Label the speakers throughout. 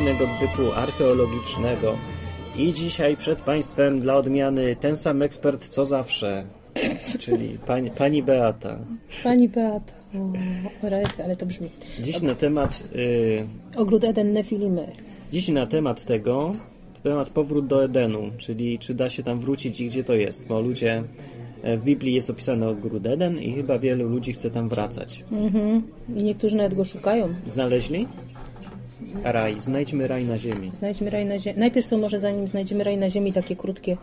Speaker 1: typu archeologicznego. I dzisiaj przed Państwem dla odmiany ten sam ekspert co zawsze, czyli pani, pani Beata.
Speaker 2: Pani Beata. O, rety, ale to brzmi.
Speaker 1: Dziś na temat, y,
Speaker 2: Ogród Eden Nefilimy.
Speaker 1: dziś na temat tego, temat powrót do Edenu, czyli czy da się tam wrócić i gdzie to jest, bo ludzie e, w Biblii jest opisany ogród Eden i chyba wielu ludzi chce tam wracać.
Speaker 2: Mhm. I niektórzy nawet go szukają.
Speaker 1: Znaleźli? Raj. Znajdźmy raj na ziemi.
Speaker 2: Znajdźmy raj na ziemi. Najpierw są może zanim znajdziemy raj na ziemi takie krótkie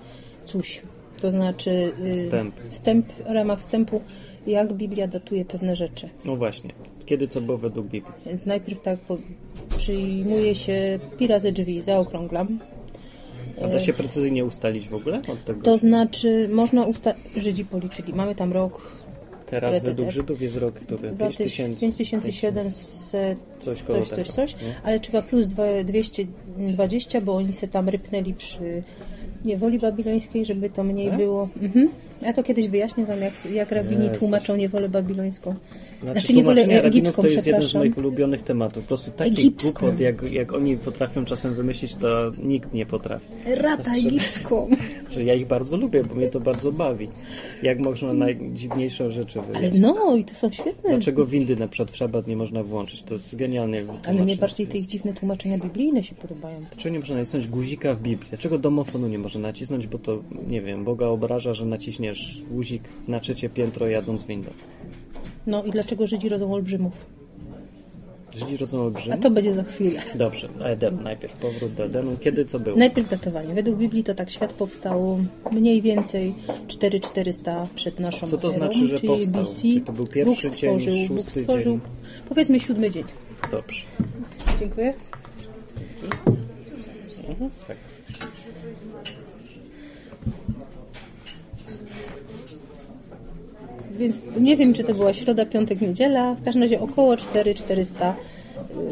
Speaker 2: coś. To znaczy y,
Speaker 1: Wstęp.
Speaker 2: wstęp, w ramach wstępu, jak Biblia datuje pewne rzeczy.
Speaker 1: No właśnie. Kiedy co było według Biblii?
Speaker 2: Więc najpierw tak po, przyjmuje się pi razy drzwi, zaokrąglam.
Speaker 1: A da się precyzyjnie ustalić w ogóle od tego?
Speaker 2: To znaczy można usta... Żydzi policzyli. Mamy tam rok
Speaker 1: Teraz
Speaker 2: które te-
Speaker 1: według Żydów jest rok, który 5000.
Speaker 2: 5700
Speaker 1: Coś
Speaker 2: coś,
Speaker 1: koło
Speaker 2: coś, coś,
Speaker 1: tego, no. nie?
Speaker 2: ale trzeba plus dwa- 220, bo oni se tam rypnęli przy niewoli babilońskiej, żeby to mniej
Speaker 1: Tak?
Speaker 2: było. Mhm. Ja to kiedyś wyjaśnię Wam, jak, jak rabini
Speaker 1: Jest
Speaker 2: tłumaczą niewolę babilońską.
Speaker 1: Znaczy,
Speaker 2: Znaczy niewolę
Speaker 1: tłumaczenia rabinów
Speaker 2: egipską,
Speaker 1: to jest jeden z
Speaker 2: przepraszam.
Speaker 1: moich ulubionych tematów. Po prostu taki
Speaker 2: Egipską.
Speaker 1: głupot, jak, jak oni potrafią czasem wymyślić, to nikt nie potrafi.
Speaker 2: Rata
Speaker 1: Znaczy-
Speaker 2: egipską.
Speaker 1: Że ja ich bardzo lubię, bo mnie to bardzo bawi. Jak można najdziwniejsze rzeczy
Speaker 2: Ale
Speaker 1: wymyślić.
Speaker 2: no, i to są świetne.
Speaker 1: Dlaczego windy na przykład w szabat nie można włączyć? To jest genialnie
Speaker 2: Ale mnie bardziej te ich dziwne tłumaczenia biblijne się podobają.
Speaker 1: Dlaczego nie można nacisnąć guzika w Biblii? Dlaczego domofonu nie można nacisnąć? Bo to, nie wiem, Boga obraża, że naciśniesz guzik na trzecie piętro jadąc windą.
Speaker 2: No i dlaczego Żydzi rodzą olbrzymów?
Speaker 1: Żydzi rodzą
Speaker 2: A tak.
Speaker 1: olbrzymi?
Speaker 2: to będzie za chwilę.
Speaker 1: Dobrze, Eden najpierw, powrót do Edenu. Kiedy co było?
Speaker 2: Najpierw datowanie. Według Biblii to tak świat powstał mniej więcej 4400 przed naszą
Speaker 1: Co to
Speaker 2: erą,
Speaker 1: znaczy, że
Speaker 2: czyli
Speaker 1: powstał?
Speaker 2: BC.
Speaker 1: Czy to był pierwszy
Speaker 2: Bóg
Speaker 1: dzień,
Speaker 2: stworzył, Bóg
Speaker 1: szósty
Speaker 2: stworzył.
Speaker 1: dzień?
Speaker 2: Powiedzmy siódmy dzień.
Speaker 1: Dobrze.
Speaker 2: Dziękuję.
Speaker 1: Mhm, tak.
Speaker 2: Więc nie wiem, czy to była środa, piątek, niedziela. W każdym razie około 4400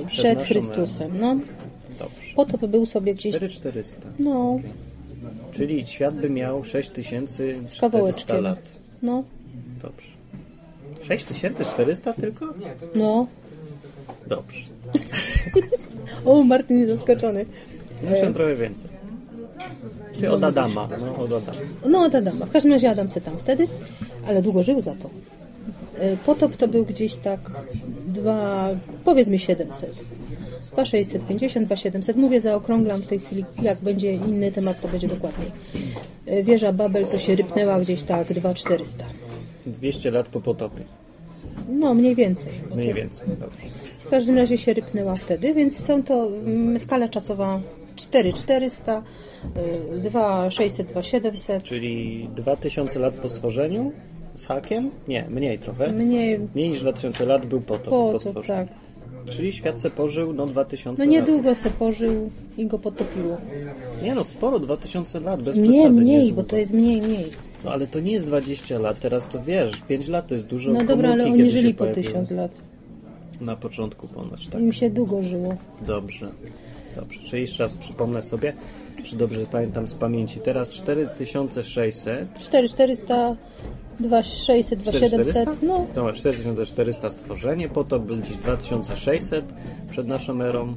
Speaker 2: y, przed
Speaker 1: naszą
Speaker 2: Chrystusem. No,
Speaker 1: Dobrze.
Speaker 2: potop był sobie gdzieś...
Speaker 1: 4400.
Speaker 2: No,
Speaker 1: Czyli świat by miał 6400
Speaker 2: z kawałeczkiem.
Speaker 1: lat.
Speaker 2: No,
Speaker 1: Dobrze. 6400 tylko?
Speaker 2: no.
Speaker 1: Dobrze.
Speaker 2: O, Martin jest zaskoczony.
Speaker 1: Muszę trochę więcej. Czyli od Adama. No, od Adama.
Speaker 2: No, od Adama. W każdym razie Adam se tam wtedy, ale długo żył za to. E, Potop to był gdzieś tak dwa, powiedzmy 700. 2650, 2700. Mówię, zaokrąglam w tej chwili. Jak będzie inny temat, to będzie dokładniej. E, Wieża Babel to się rypnęła gdzieś tak 2400.
Speaker 1: 200 lat po potopie.
Speaker 2: No, mniej więcej.
Speaker 1: Mniej więcej. Dobrze.
Speaker 2: W każdym razie się rypnęła wtedy, więc są to mm, skala czasowa 4400, y, 2600, 2700.
Speaker 1: Czyli 2000 lat po stworzeniu z hakiem? Nie, mniej trochę.
Speaker 2: Mniej
Speaker 1: Mniej niż 2000 lat był potop po
Speaker 2: po co,
Speaker 1: stworzeniu.
Speaker 2: tak.
Speaker 1: Czyli świat se pożył, no 2000
Speaker 2: No
Speaker 1: lat.
Speaker 2: niedługo se pożył i go potopiło.
Speaker 1: Nie no, sporo, 2000 lat, bez
Speaker 2: Nie
Speaker 1: przesady.
Speaker 2: mniej,
Speaker 1: niedługo.
Speaker 2: bo to jest mniej, mniej.
Speaker 1: No ale to nie jest 20 lat, teraz to wiesz, 5 lat to jest dużo
Speaker 2: No dobra, ale
Speaker 1: komórki,
Speaker 2: oni
Speaker 1: kiedy się
Speaker 2: żyli po
Speaker 1: pojawiły.
Speaker 2: tysiąc lat.
Speaker 1: Na początku ponoć, tak.
Speaker 2: Im się długo żyło.
Speaker 1: Dobrze. Dobrze, czyli jeszcze raz przypomnę sobie, czy dobrze pamiętam z pamięci. Teraz 4600,
Speaker 2: 4400, 2600, 2700,
Speaker 1: 4700?
Speaker 2: no
Speaker 1: To ma 4400 stworzenie, potop był gdzieś 2600 przed naszą erą,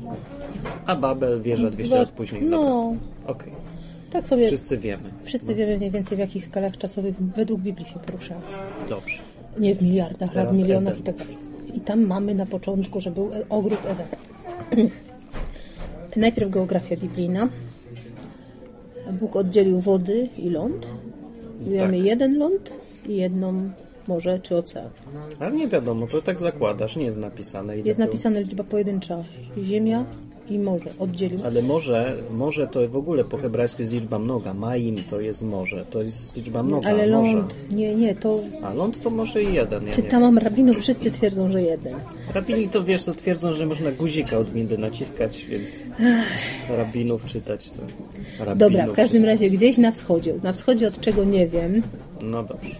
Speaker 1: a Babel wieża 200
Speaker 2: Dwa-
Speaker 1: lat później. Dobra.
Speaker 2: No,
Speaker 1: Okej,
Speaker 2: tak sobie
Speaker 1: wszyscy wiemy.
Speaker 2: wszyscy wiemy mniej więcej w jakich skalach czasowych według Biblii się poruszała.
Speaker 1: Dobrze.
Speaker 2: Nie w miliardach, ale
Speaker 1: Teraz
Speaker 2: w milionach
Speaker 1: Eden.
Speaker 2: i tak dalej. I tam mamy na początku, że był e- ogród Eden. Najpierw geografia biblijna. Bóg oddzielił wody i ląd. Mamy
Speaker 1: Tak.
Speaker 2: jeden ląd i jedną morze czy ocean.
Speaker 1: Ale nie wiadomo, to tak zakładasz, nie jest napisane. tak ile
Speaker 2: Jest
Speaker 1: było.
Speaker 2: napisana liczba pojedyncza. Ziemia i morze. Oddzielił.
Speaker 1: Ale może, może to w ogóle po hebrajsku jest liczba mnoga. Maim to jest może, to jest liczba mnoga.
Speaker 2: No, Ale
Speaker 1: morza.
Speaker 2: ląd, nie, nie, to
Speaker 1: A ląd to może i jeden, ja nie wiem.
Speaker 2: czytałam rabinów, wszyscy twierdzą, że jeden.
Speaker 1: Rabini to wiesz, co twierdzą, że można guzika od windy naciskać, więc rabinów czytać to. Rabinów
Speaker 2: Dobra, w każdym
Speaker 1: czytać.
Speaker 2: razie gdzieś na wschodzie. Na wschodzie od czego nie wiem.
Speaker 1: No dobrze.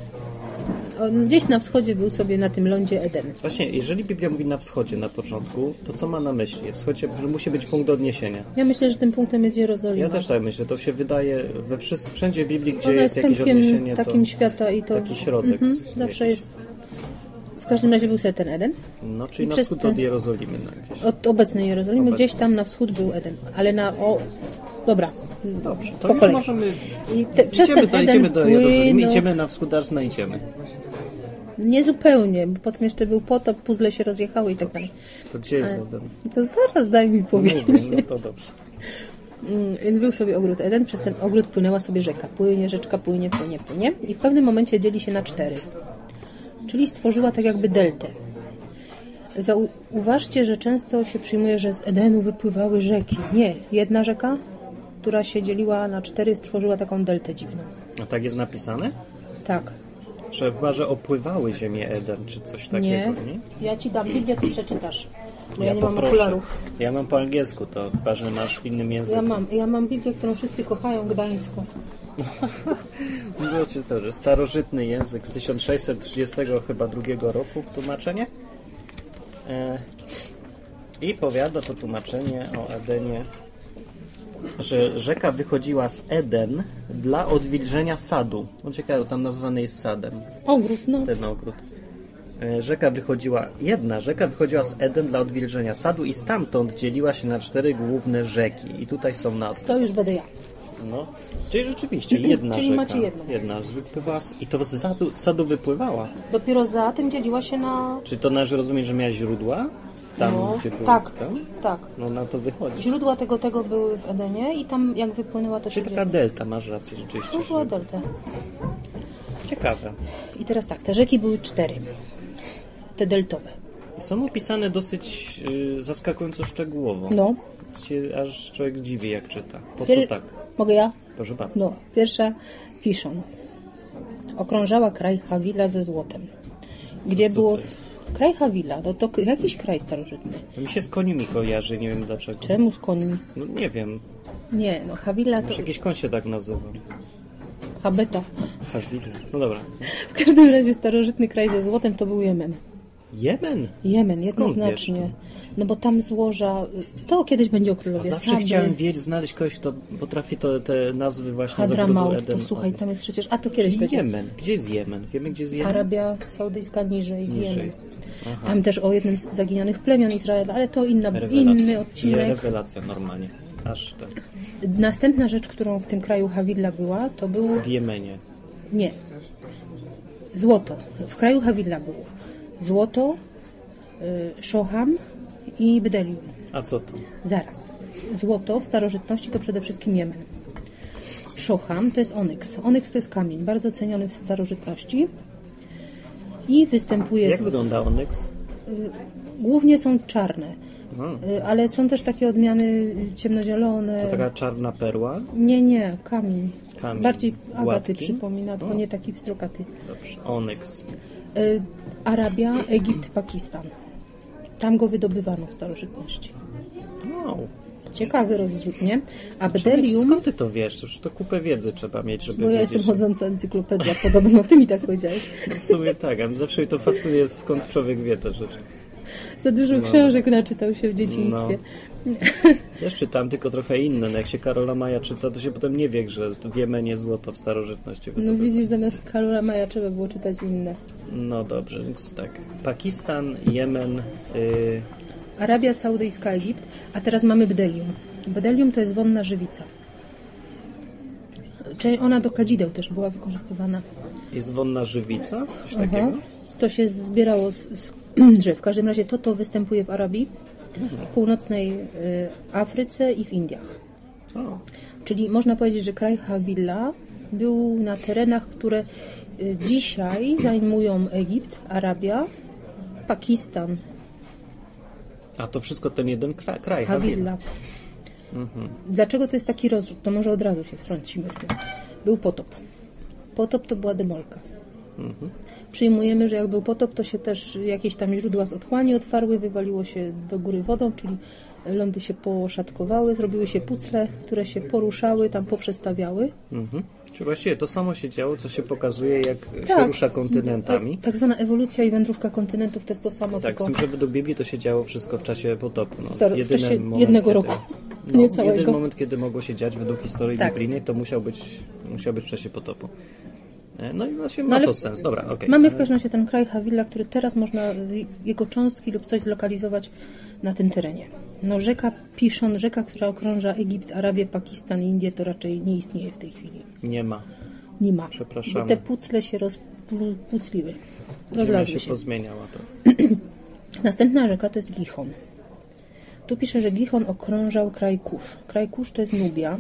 Speaker 2: On gdzieś na wschodzie był sobie na tym lądzie Eden.
Speaker 1: Właśnie, jeżeli Biblia mówi na wschodzie na początku, to co ma na myśli? Wschodzie że musi być punkt odniesienia.
Speaker 2: Ja myślę, że tym punktem jest Jerozolima.
Speaker 1: Ja też tak myślę, to się wydaje we wszys- wszędzie w Biblii, gdzie
Speaker 2: Ona
Speaker 1: jest
Speaker 2: jest
Speaker 1: jakieś
Speaker 2: pępkiem
Speaker 1: odniesienie,
Speaker 2: takim
Speaker 1: to
Speaker 2: świata i to
Speaker 1: taki środek.
Speaker 2: Mhm,
Speaker 1: jakiś.
Speaker 2: zawsze jest. W każdym razie był sobie ten Eden.
Speaker 1: No, czyli
Speaker 2: I
Speaker 1: na
Speaker 2: przez
Speaker 1: wschód
Speaker 2: te-
Speaker 1: od Jerozolimy. No, gdzieś.
Speaker 2: Od obecnej Jerozolimy,
Speaker 1: Obecnej.
Speaker 2: gdzieś tam na wschód był Eden, ale na o... Dobra,
Speaker 1: Dobrze, to
Speaker 2: po
Speaker 1: już
Speaker 2: kolei.
Speaker 1: możemy...
Speaker 2: I te, przez
Speaker 1: Idziemy,
Speaker 2: ten
Speaker 1: to,
Speaker 2: Eden
Speaker 1: idziemy do Jerozolimy,
Speaker 2: płynął-
Speaker 1: idziemy na wschód, aż znajdziemy.
Speaker 2: Niezupełnie, bo potem jeszcze był potop, puzzle się rozjechały i tak dalej.
Speaker 1: To gdzie jest Eden?
Speaker 2: To zaraz daj mi powiedzieć.
Speaker 1: Mówię, no to dobrze.
Speaker 2: Mm, Więc był sobie ogród Eden, przez ten ogród płynęła sobie rzeka. Płynie, rzeczka płynie, płynie, płynie. I w pewnym momencie dzieli się na cztery. Czyli stworzyła tak jakby deltę. Zauważcie, że często się przyjmuje, że z Edenu wypływały rzeki. Nie, jedna rzeka, która się dzieliła na cztery, stworzyła taką deltę dziwną.
Speaker 1: A tak jest napisane?
Speaker 2: Tak.
Speaker 1: Że chyba, że opływały ziemię Eden, czy coś
Speaker 2: Nie.
Speaker 1: takiego, nie?
Speaker 2: Ja ci dam Biblię, ty przeczytasz. Bo ja, nie mam
Speaker 1: poproszę.
Speaker 2: okularów.
Speaker 1: Ja mam po angielsku, to chyba, że masz w innym języku.
Speaker 2: Ja mam, ja mam Biblię, którą wszyscy kochają, gdańską.
Speaker 1: Wiecie to, że starożytny język z 1630 chyba drugiego roku tłumaczenie. E, I powiada to tłumaczenie o Edenie, że rzeka wychodziła z Eden dla odwilżenia sadu. No ciekawe, tam nazwany jest sadem
Speaker 2: Ogród, no.
Speaker 1: ten ogród. E, Rzeka wychodziła, jedna rzeka wychodziła z Eden dla odwilżenia sadu i stamtąd dzieliła się na cztery główne rzeki. I tutaj są nazwy.
Speaker 2: To już będę ja.
Speaker 1: No, czyli rzeczywiście jedna
Speaker 2: Czyli
Speaker 1: rzeka.
Speaker 2: macie jedną.
Speaker 1: Jedna z- wypływała z, i to z sadu, z sadu wypływała.
Speaker 2: Dopiero za tym dzieliła się na...
Speaker 1: Czy to należy rozumieć, że miała źródła? Tam,
Speaker 2: no,
Speaker 1: gdzie były
Speaker 2: tak,
Speaker 1: tam?
Speaker 2: tak.
Speaker 1: No na to wychodzi.
Speaker 2: Źródła tego tego były w Edenie i tam jak wypłynęła to się
Speaker 1: Czyli taka
Speaker 2: dzieje.
Speaker 1: delta, masz rację rzeczywiście.
Speaker 2: To była
Speaker 1: że-
Speaker 2: delta.
Speaker 1: Ciekawe.
Speaker 2: I teraz tak, te rzeki były cztery. Te deltowe.
Speaker 1: Są opisane dosyć y, zaskakująco szczegółowo.
Speaker 2: No.
Speaker 1: Się aż człowiek dziwi, jak czyta. Po co
Speaker 2: Pier-
Speaker 1: tak?
Speaker 2: Mogę ja?
Speaker 1: Proszę bardzo.
Speaker 2: No, pierwsza Fiszon. Okrążała kraj Hawila ze złotem. Gdzie
Speaker 1: Co to
Speaker 2: było...
Speaker 1: jest?
Speaker 2: Kraj Hawila, no to k- jakiś kraj starożytny.
Speaker 1: To mi się z końmi kojarzy, nie wiem dlaczego.
Speaker 2: Czemu z końmi?
Speaker 1: No nie wiem,
Speaker 2: Nie, no Hawila to...
Speaker 1: może jakiś koń się tak nazywa.
Speaker 2: Habeta.
Speaker 1: Hazbila. No dobra.
Speaker 2: W każdym razie starożytny kraj ze złotem to był Jemen.
Speaker 1: Jemen?
Speaker 2: Jemen,
Speaker 1: Skąd
Speaker 2: jednoznacznie.
Speaker 1: wiesz
Speaker 2: No bo tam złoża... To kiedyś będzie o królowie
Speaker 1: Zawsze
Speaker 2: Sabry.
Speaker 1: chciałem wiedzieć, znaleźć kogoś, kto potrafi to, te nazwy właśnie z ogrodu
Speaker 2: Hadramaut,
Speaker 1: Eden.
Speaker 2: to słuchaj, tam jest przecież... A to kiedyś
Speaker 1: Czyli
Speaker 2: będzie.
Speaker 1: Jemen. Gdzie jest Jemen? Wiemy, gdzie jest Jemen?
Speaker 2: Arabia Saudyjska niżej,
Speaker 1: Niżej.
Speaker 2: Jemen. Tam też o jednym z zaginionych plemion Izraela, ale to inna,
Speaker 1: Rewelacja.
Speaker 2: inny
Speaker 1: Nie,
Speaker 2: odcinek.
Speaker 1: rewelacja normalnie. Aż tak.
Speaker 2: Następna rzecz, którą w tym kraju Hawilla była, to był...
Speaker 1: W Jemenie.
Speaker 2: Nie. Złoto. W kraju Hawilla było. Złoto, y, Szoham i Bdelium.
Speaker 1: A co to?
Speaker 2: Zaraz. Złoto w starożytności to przede wszystkim Jemen. Szocham to jest onyks. Onyks to jest kamień, bardzo ceniony w starożytności. I występuje.
Speaker 1: Jak
Speaker 2: W...
Speaker 1: wygląda onyx?
Speaker 2: Głównie są czarne,
Speaker 1: Hmm.
Speaker 2: y, ale są też takie odmiany y, ciemnozielone.
Speaker 1: Taka czarna perła.
Speaker 2: Nie, nie, kamień.
Speaker 1: Kamień.
Speaker 2: Bardziej agaty
Speaker 1: Gładki?
Speaker 2: przypomina, tylko
Speaker 1: O.
Speaker 2: nie taki pstrokaty.
Speaker 1: Dobrze. Onyx.
Speaker 2: Y, Arabia, Egipt, Pakistan. Tam go wydobywano w starożytności.
Speaker 1: Wow.
Speaker 2: Ciekawy rozrzut, nie? A
Speaker 1: Powiedz,
Speaker 2: Bdelium...
Speaker 1: Skąd ty to wiesz? To Już to kupę wiedzy trzeba mieć, żeby
Speaker 2: Bo ja
Speaker 1: wiedzieć.
Speaker 2: jestem chodząca encyklopedia, podobno ty mi tak powiedziałeś.
Speaker 1: W sumie tak, a mnie zawsze mi to fascynuje, skąd człowiek wie te rzeczy.
Speaker 2: Za dużo książek naczytał się w dzieciństwie.
Speaker 1: Też czytałem tylko trochę inne. No jak się Karola Maja czyta, to się potem nie wie, że w Jemenie złoto w starożytności.
Speaker 2: No,
Speaker 1: wydobywa.
Speaker 2: widzisz, zamiast Karola Maja trzeba było czytać inne.
Speaker 1: no dobrze, więc tak. Pakistan, Jemen, yy,
Speaker 2: Arabia Saudyjska, Egipt, a teraz mamy Bdelium. Bdelium to jest wonna żywica. Czyli ona do kadzideł też była wykorzystywana.
Speaker 1: jest wonna żywica, coś
Speaker 2: Aha.
Speaker 1: takiego.
Speaker 2: To się zbierało z, z drzew. W każdym razie to, to występuje w Arabii, w północnej y, Afryce i w Indiach.
Speaker 1: O,
Speaker 2: Czyli można powiedzieć, że kraj Hawilla był na terenach, które y, dzisiaj zajmują Egipt, Arabia, Pakistan,
Speaker 1: a to wszystko ten jeden kra- kraj, Hawila.
Speaker 2: Hawilla. Dlaczego to jest taki rozrzut? To może od razu się wtrącimy z tym. Był potop. Potop to była demolka. Przyjmujemy, że jak był potop, to się też jakieś tam źródła z otchłani otwarły, wywaliło się do góry wodą, czyli lądy się poszatkowały, zrobiły się pucle, które się poruszały, tam poprzestawiały.
Speaker 1: Mhm. Czy właściwie to samo się działo, co się pokazuje, jak się
Speaker 2: Tak.
Speaker 1: rusza kontynentami.
Speaker 2: Tak, tak zwana ewolucja i wędrówka kontynentów to jest to
Speaker 1: Tak,
Speaker 2: samo,
Speaker 1: z tym,
Speaker 2: tylko
Speaker 1: że według Biblii to się działo wszystko w czasie potopu. No,
Speaker 2: To- w
Speaker 1: jedyny
Speaker 2: czasie
Speaker 1: moment,
Speaker 2: jednego
Speaker 1: kiedy,
Speaker 2: roku,
Speaker 1: No,
Speaker 2: nie całego.
Speaker 1: Jeden moment, kiedy mogło się dziać według historii
Speaker 2: Tak.
Speaker 1: biblijnej, to musiał być, musiał być w czasie potopu. E, No i właśnie ma
Speaker 2: ale-
Speaker 1: to sens. Dobra, okej.
Speaker 2: Mamy w każdym razie ten kraj Havilla, który teraz można y, jego cząstki lub coś zlokalizować na tym terenie. No rzeka Pishon, rzeka, która okrąża Egipt, Arabię, Pakistan i Indię, to raczej nie istnieje w tej chwili.
Speaker 1: Nie
Speaker 2: No
Speaker 1: ma.
Speaker 2: Nie ma.
Speaker 1: Przepraszamy.
Speaker 2: Bo te pucle się rozpucliły.
Speaker 1: Ziemia
Speaker 2: Rozlazły
Speaker 1: się,
Speaker 2: się.
Speaker 1: pozmieniała. To.
Speaker 2: Następna rzeka to jest Gihon. Tu pisze, że Gihon okrążał kraj Kusz. Kraj Kusz to jest Nubia,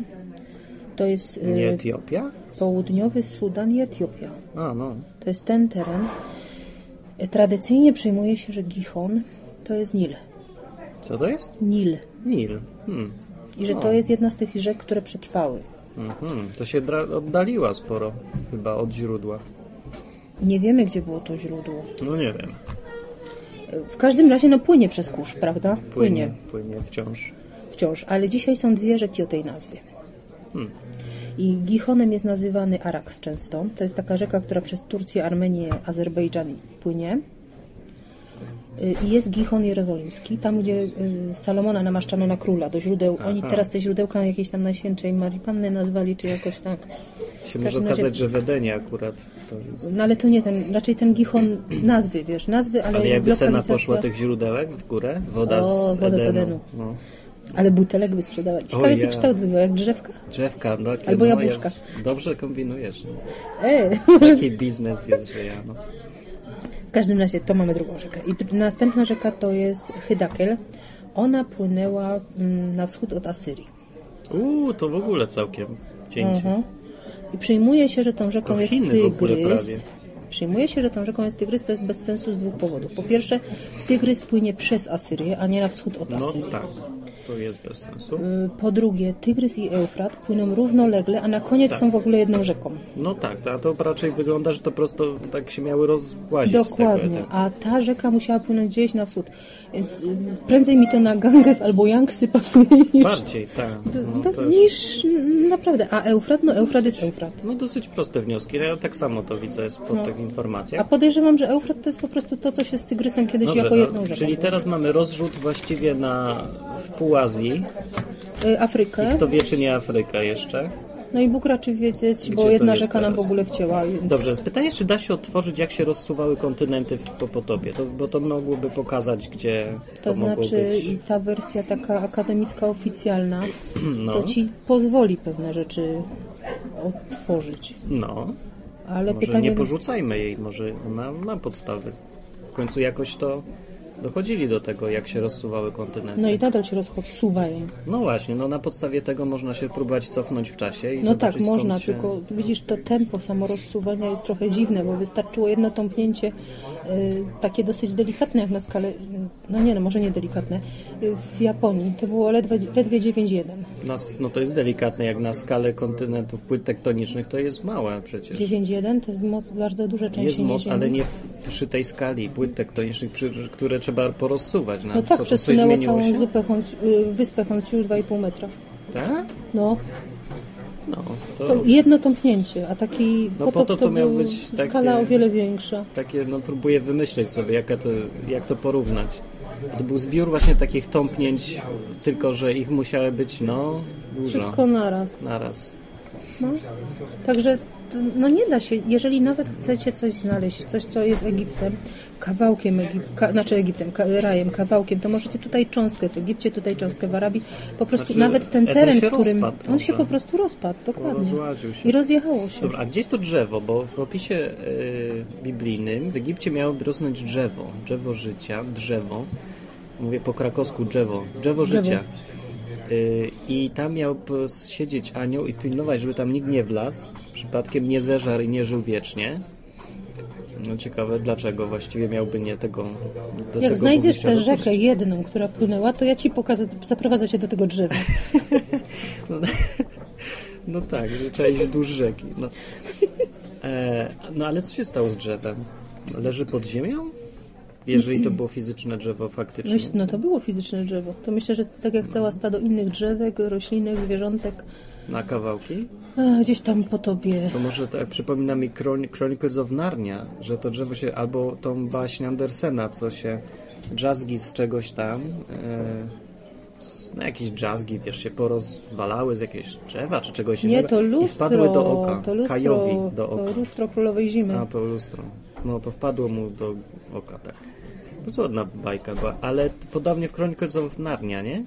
Speaker 2: to jest y,
Speaker 1: Nie Etiopia?
Speaker 2: południowy Sudan i Etiopia.
Speaker 1: A, no.
Speaker 2: To jest ten teren. E, Tradycyjnie przyjmuje się, że Gihon to jest Nil.
Speaker 1: Co to jest?
Speaker 2: Nil.
Speaker 1: Nil. Hmm.
Speaker 2: I że to jest jedna z tych rzek, które przetrwały.
Speaker 1: Mhm. To się dra- oddaliła sporo chyba od źródła.
Speaker 2: Nie wiemy, gdzie było to źródło.
Speaker 1: No nie wiem.
Speaker 2: E, W każdym razie no płynie przez kurz, prawda?
Speaker 1: Płynie. Płynie wciąż.
Speaker 2: wciąż, ale dzisiaj są dwie rzeki o tej nazwie.
Speaker 1: Hmm.
Speaker 2: I Gichonem jest nazywany Araks często. To jest taka rzeka, która przez Turcję, Armenię, Azerbejdżan płynie. Y, I jest Gichon Jerozolimski, tam gdzie y, Salomona namaszczano na króla, do źródeł. Oni teraz te źródełka jakiejś tam Najświętszej Marii Panny nazwali, czy jakoś tak.
Speaker 1: Się
Speaker 2: W
Speaker 1: może
Speaker 2: każdym razie-
Speaker 1: okazać, że w Edenie akurat to jest.
Speaker 2: No ale to nie ten, raczej ten Gichon nazwy, wiesz, nazwy, ale,
Speaker 1: Ale jakby cena
Speaker 2: No lokalizacja-
Speaker 1: poszła tych źródełek w górę? Woda
Speaker 2: O,
Speaker 1: z
Speaker 2: woda
Speaker 1: Edenu.
Speaker 2: z Edenu.
Speaker 1: No.
Speaker 2: Ale butelek by sprzedawać. Ciekawe jaki
Speaker 1: ja.
Speaker 2: kształt by był, jak drzewka.
Speaker 1: Drzewka. No, takie,
Speaker 2: Albo
Speaker 1: no,
Speaker 2: jabłuszka.
Speaker 1: Ja, dobrze kombinujesz. No.
Speaker 2: Ej,
Speaker 1: Taki biznes jest, że ja. No.
Speaker 2: W każdym razie to mamy drugą rzekę. I dr- następna rzeka to jest Hydakel. Ona płynęła mm, na wschód od Asyrii.
Speaker 1: Uuu, to w ogóle całkiem cięcie.
Speaker 2: Mhm. I przyjmuje się, że tą rzeką
Speaker 1: To
Speaker 2: jest
Speaker 1: Chiny w ogóle
Speaker 2: Tygrys. Przyjmuje się, że tą rzeką jest Tygrys, to jest bez sensu z dwóch powodów. Po pierwsze, Tygrys płynie przez Asyrię, a nie na wschód od
Speaker 1: No
Speaker 2: Asyrii.
Speaker 1: tak, to jest bez sensu.
Speaker 2: Y, Po drugie, Tygrys i Eufrat płyną równolegle, a na koniec są w ogóle jedną rzeką.
Speaker 1: No tak, a to raczej wygląda, że to prosto tak się miały rozgłazić z tego tak.
Speaker 2: Dokładnie,
Speaker 1: etapu.
Speaker 2: a ta rzeka musiała płynąć gdzieś na wschód. Więc y, prędzej mi to na Ganges albo Yangsy pasuje niż
Speaker 1: Bardziej, tak. No,
Speaker 2: To
Speaker 1: to już,
Speaker 2: niż n- naprawdę. A Eufrat? No Eufrat jest Eufrat.
Speaker 1: no dosyć proste wnioski, ja tak samo to widzę z- po tych
Speaker 2: No. A
Speaker 1: informacjach.
Speaker 2: podejrzewam, że Eufrat to jest po prostu to, co się z Tygrysem kiedyś jako
Speaker 1: no,
Speaker 2: jedną rzeką.
Speaker 1: czyli teraz mamy rozrzut właściwie na w pół Azji,
Speaker 2: Y, Afrykę.
Speaker 1: to wie czy nie Afryka jeszcze.
Speaker 2: No i Bóg raczy wiedzieć,
Speaker 1: to
Speaker 2: bo jedna
Speaker 1: jest
Speaker 2: rzeka nam w
Speaker 1: teraz?
Speaker 2: ogóle wcięła. Więc...
Speaker 1: Dobrze, jest pytanie, czy da się odtworzyć, jak się rozsuwały kontynenty w, po potopie, to, bo to mogłoby pokazać, gdzie to,
Speaker 2: To znaczy
Speaker 1: mogło być.
Speaker 2: i ta wersja taka akademicka, oficjalna,
Speaker 1: No.
Speaker 2: to ci pozwoli pewne rzeczy otworzyć.
Speaker 1: No,
Speaker 2: Ale
Speaker 1: Może
Speaker 2: pytanie...
Speaker 1: nie porzucajmy jej, może ona ma podstawy. W końcu jakoś to dochodzili do tego, jak się rozsuwały kontynenty.
Speaker 2: No
Speaker 1: No,
Speaker 2: i nadal się rozsuwają.
Speaker 1: właśnie, no na podstawie tego można się próbować cofnąć w czasie i
Speaker 2: No
Speaker 1: zobaczyć,
Speaker 2: tak,
Speaker 1: skąd
Speaker 2: można,
Speaker 1: się...
Speaker 2: tylko widzisz, to tempo samorozsuwania jest trochę dziwne, bo wystarczyło jedno tąpnięcie y, takie dosyć delikatne jak na skalę, y, no nie no, może nie delikatne, y, w Japonii to było ledwie, ledwie 9,1.
Speaker 1: Nas, no to jest delikatne, jak na skalę kontynentów płyt tektonicznych to jest małe przecież.
Speaker 2: 9,1 to jest moc, bardzo duża część
Speaker 1: Jest moc,
Speaker 2: Ziemi.
Speaker 1: ale nie w, przy tej skali płyt tektonicznych, przy, które trzeba porozsuwać. Na,
Speaker 2: No tak,
Speaker 1: co, coś
Speaker 2: przesunęło
Speaker 1: zmieniło
Speaker 2: całą
Speaker 1: się?
Speaker 2: zupę Hons- y, wyspę Honsiu 2,5 metra.
Speaker 1: Tak?
Speaker 2: No,
Speaker 1: No, to,
Speaker 2: to jedno tąpnięcie, a taki
Speaker 1: No
Speaker 2: potop
Speaker 1: po to to miał
Speaker 2: był
Speaker 1: być takie-
Speaker 2: skala o wiele większa.
Speaker 1: takie, no próbuję wymyśleć sobie, jaka to, jak to porównać. To był zbiór właśnie takich tąpnięć, tylko że ich musiały być, no, dużo.
Speaker 2: Wszystko naraz.
Speaker 1: Naraz.
Speaker 2: No. Także to, no nie da się, jeżeli nawet chcecie coś znaleźć, coś co jest Egiptem, kawałkiem Egip, ka, znaczy Egiptem, ka, rajem, kawałkiem, to możecie tutaj cząstkę w Egipcie, tutaj cząstkę w Arabii, po prostu
Speaker 1: Znaczy,
Speaker 2: nawet ten
Speaker 1: Eden
Speaker 2: teren,
Speaker 1: się
Speaker 2: którym
Speaker 1: rozpadł
Speaker 2: on się
Speaker 1: trochę.
Speaker 2: po prostu rozpadł, dokładnie.
Speaker 1: Rozłaził się.
Speaker 2: I rozjechało się.
Speaker 1: Dobra, a gdzieś to drzewo? Bo w opisie y, biblijnym w Egipcie miałoby rosnąć drzewo. Drzewo życia, drzewo. Mówię po krakowsku drzewo. Drzewo
Speaker 2: Drzewo.
Speaker 1: życia. Y, I tam miał p- siedzieć anioł i pilnować, żeby tam nikt nie wlazł. Przypadkiem nie zeżarł i nie żył wiecznie. No ciekawe, dlaczego właściwie miałby nie tego... Do
Speaker 2: Jak
Speaker 1: tego
Speaker 2: znajdziesz tę
Speaker 1: powieścia
Speaker 2: rzekę jedną, która płynęła, to ja ci pokażę, zaprowadzę cię do tego drzewa.
Speaker 1: No, no tak, że trzeba iść wzdłuż rzeki. No. E, no ale co się stało z drzewem? Leży pod ziemią? Jeżeli to było fizyczne drzewo faktycznie.
Speaker 2: Myśl, no to było fizyczne drzewo. To myślę, że tak jak cała stado innych drzewek, roślinek, zwierzątek,
Speaker 1: Na kawałki?
Speaker 2: e, gdzieś tam po tobie.
Speaker 1: To może tak przypomina mi Chron- Chronicles of Narnia, że to drzewo się, albo tą baśń Andersena, co się drzazgi z czegoś tam, e, z- no, jakieś drzazgi, wiesz, się porozwalały z jakiegoś drzewa czy czegoś
Speaker 2: Nie,
Speaker 1: innego
Speaker 2: to
Speaker 1: i
Speaker 2: lustro,
Speaker 1: wpadły do oka,
Speaker 2: to lustro,
Speaker 1: Kajowi do oka.
Speaker 2: to lustro królowej zimy.
Speaker 1: A to lustro. No to wpadło mu do oka, tak. To ładna bajka była, ale t- podobnie w Chronicles of Narnia, nie?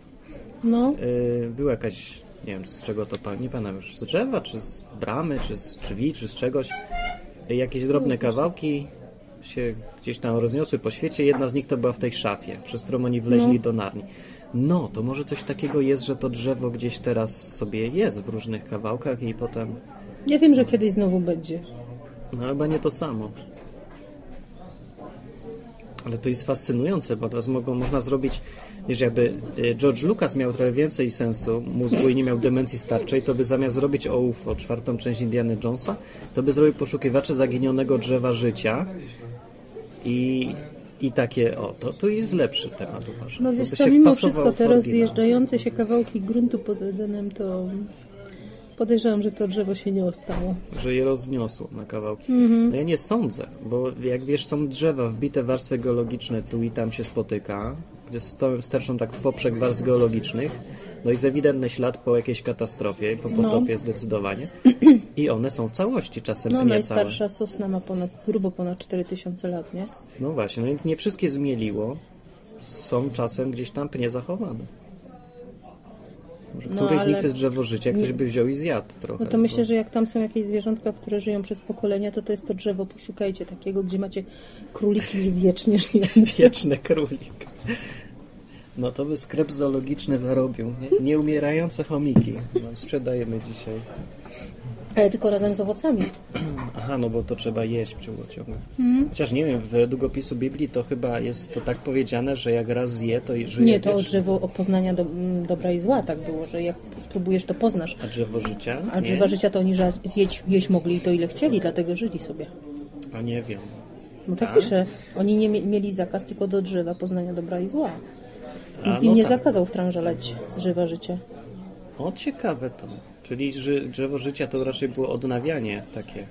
Speaker 2: No,
Speaker 1: Yy, była jakaś, nie wiem z czego to, pa- nie pamiętam już, z drzewa, czy z bramy, czy z drzwi, czy z czegoś. Yy, jakieś drobne kawałki się gdzieś tam rozniosły po świecie. Jedna z nich to była w tej szafie, przez którą oni wleźli do Narni. No, to może coś takiego jest, że to drzewo gdzieś teraz sobie jest w różnych kawałkach i potem...
Speaker 2: ja wiem, że kiedyś znowu będzie.
Speaker 1: No chyba nie to samo. Ale to jest fascynujące, bo teraz mogą, można zrobić, wiesz, jakby y, George Lucas miał trochę więcej sensu mózgu i nie miał demencji starczej, to by zamiast zrobić o UFO, czwartą część Indiana Jonesa, to by zrobił poszukiwacze zaginionego drzewa życia i, i takie, o, to, to jest lepszy temat, uważam.
Speaker 2: No
Speaker 1: To
Speaker 2: wiesz
Speaker 1: by
Speaker 2: co,
Speaker 1: się
Speaker 2: mimo
Speaker 1: wpasował
Speaker 2: wszystko
Speaker 1: w no.
Speaker 2: te
Speaker 1: oryginał.
Speaker 2: rozjeżdżające się kawałki gruntu pod Edenem, to podejrzewam, że to drzewo się nie ostało.
Speaker 1: że je rozniosło na kawałki.
Speaker 2: Mhm.
Speaker 1: No ja nie sądzę, bo jak wiesz, są drzewa wbite w warstwy geologiczne, tu i tam się spotyka, gdzie stoją, sterczą tak w poprzek warstw geologicznych, no i jest ewidentny ślad po jakiejś katastrofie,
Speaker 2: No.
Speaker 1: po potopie zdecydowanie i one są w całości, czasem
Speaker 2: No,
Speaker 1: nie całe.
Speaker 2: najstarsza sosna ma ponad, grubo ponad 4000 lat, nie?
Speaker 1: No właśnie, no więc nie wszystkie zmieliło, są czasem gdzieś tam pnie zachowane. Może
Speaker 2: No,
Speaker 1: któreś z nich
Speaker 2: ale-
Speaker 1: to jest drzewo życia, ktoś by wziął i zjadł trochę.
Speaker 2: No to myślę, że jak tam są jakieś zwierzątka, które żyją przez pokolenia, to to jest to drzewo. Poszukajcie takiego, gdzie macie króliki wiecznie żyjące.
Speaker 1: Wieczny królik. No to by sklep zoologiczny zarobił. Nie- Nieumierające chomiki. No, sprzedajemy dzisiaj.
Speaker 2: Ale tylko razem z owocami.
Speaker 1: Aha, no bo to trzeba jeść ciągle. ciągle.
Speaker 2: Hmm?
Speaker 1: Chociaż nie wiem, w długopisu Biblii to chyba jest to tak powiedziane, że jak raz zje, to i żyje
Speaker 2: Nie, to
Speaker 1: wiecznie.
Speaker 2: drzewo o poznania do, mm, dobra i zła tak było, że jak spróbujesz, to poznasz.
Speaker 1: A drzewo życia?
Speaker 2: A drzewa życia to oni ża- zjeść, jeść mogli i to ile chcieli, dlatego żyli sobie.
Speaker 1: A nie wiem.
Speaker 2: No tak pisze, oni nie mie- mieli zakaz tylko do drzewa poznania dobra i zła.
Speaker 1: A,
Speaker 2: Nikt
Speaker 1: no
Speaker 2: im nie
Speaker 1: tak.
Speaker 2: zakazał wtrążalać z drzewa życia.
Speaker 1: O, ciekawe to. Czyli że drzewo życia to raczej było odnawianie takie.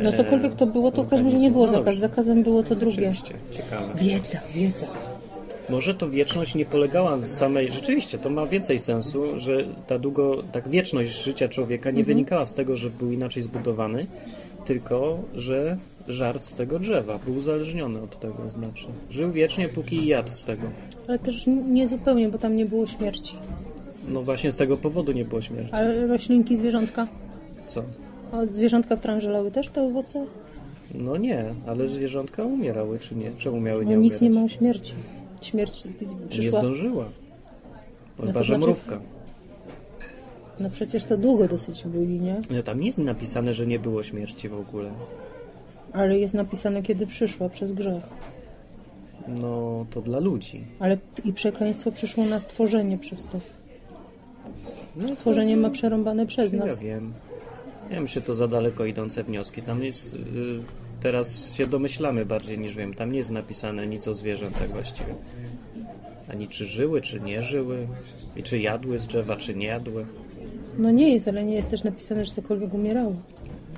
Speaker 2: No cokolwiek to było, to w każdym razie nie
Speaker 1: organizm.
Speaker 2: było
Speaker 1: E, No
Speaker 2: zakaz.
Speaker 1: dobrze. Znaczy-
Speaker 2: Zakazem było to drugie.
Speaker 1: Oczywiście, ciekawe.
Speaker 2: Wiedza, wiedza.
Speaker 1: Może to wieczność nie polegała na samej. Rzeczywiście, to ma więcej sensu, że ta długo, tak wieczność życia człowieka
Speaker 2: Mhm.
Speaker 1: nie wynikała z tego, że był inaczej zbudowany, tylko że żart z tego drzewa był uzależniony od tego, znaczy. Żył wiecznie, póki jadł z tego.
Speaker 2: Ale też n- nie zupełnie, bo tam nie było śmierci.
Speaker 1: No właśnie z tego powodu nie było śmierci.
Speaker 2: Ale roślinki, zwierzątka?
Speaker 1: Co?
Speaker 2: A zwierzątka wtrążalały też te owoce?
Speaker 1: No nie, ale zwierzątka umierały, czy nie? Czemu miały
Speaker 2: No
Speaker 1: nie
Speaker 2: nic
Speaker 1: umierać?
Speaker 2: nie ma o śmierci. Śmierć
Speaker 1: nie
Speaker 2: przyszła.
Speaker 1: zdążyła. Chyba,
Speaker 2: to
Speaker 1: że
Speaker 2: znaczy-
Speaker 1: mrówka.
Speaker 2: No przecież to długo dosyć byli, nie?
Speaker 1: No tam nie jest napisane, że nie było śmierci w ogóle.
Speaker 2: Ale jest napisane, kiedy przyszła przez grzech.
Speaker 1: No to dla ludzi.
Speaker 2: Ale i przekleństwo przyszło na stworzenie przez to.
Speaker 1: No,
Speaker 2: Stworzenie ma przerąbane przez
Speaker 1: Ja
Speaker 2: nas.
Speaker 1: wiem. Ja myślę, to za daleko idące wnioski. Tam jest. y, teraz się domyślamy bardziej niż wiem. Tam nie jest napisane nic o zwierzętach właściwie. Ani czy żyły, czy nie żyły. I czy jadły z drzewa, czy nie jadły.
Speaker 2: No nie jest, ale nie jest też napisane, że cokolwiek umierało.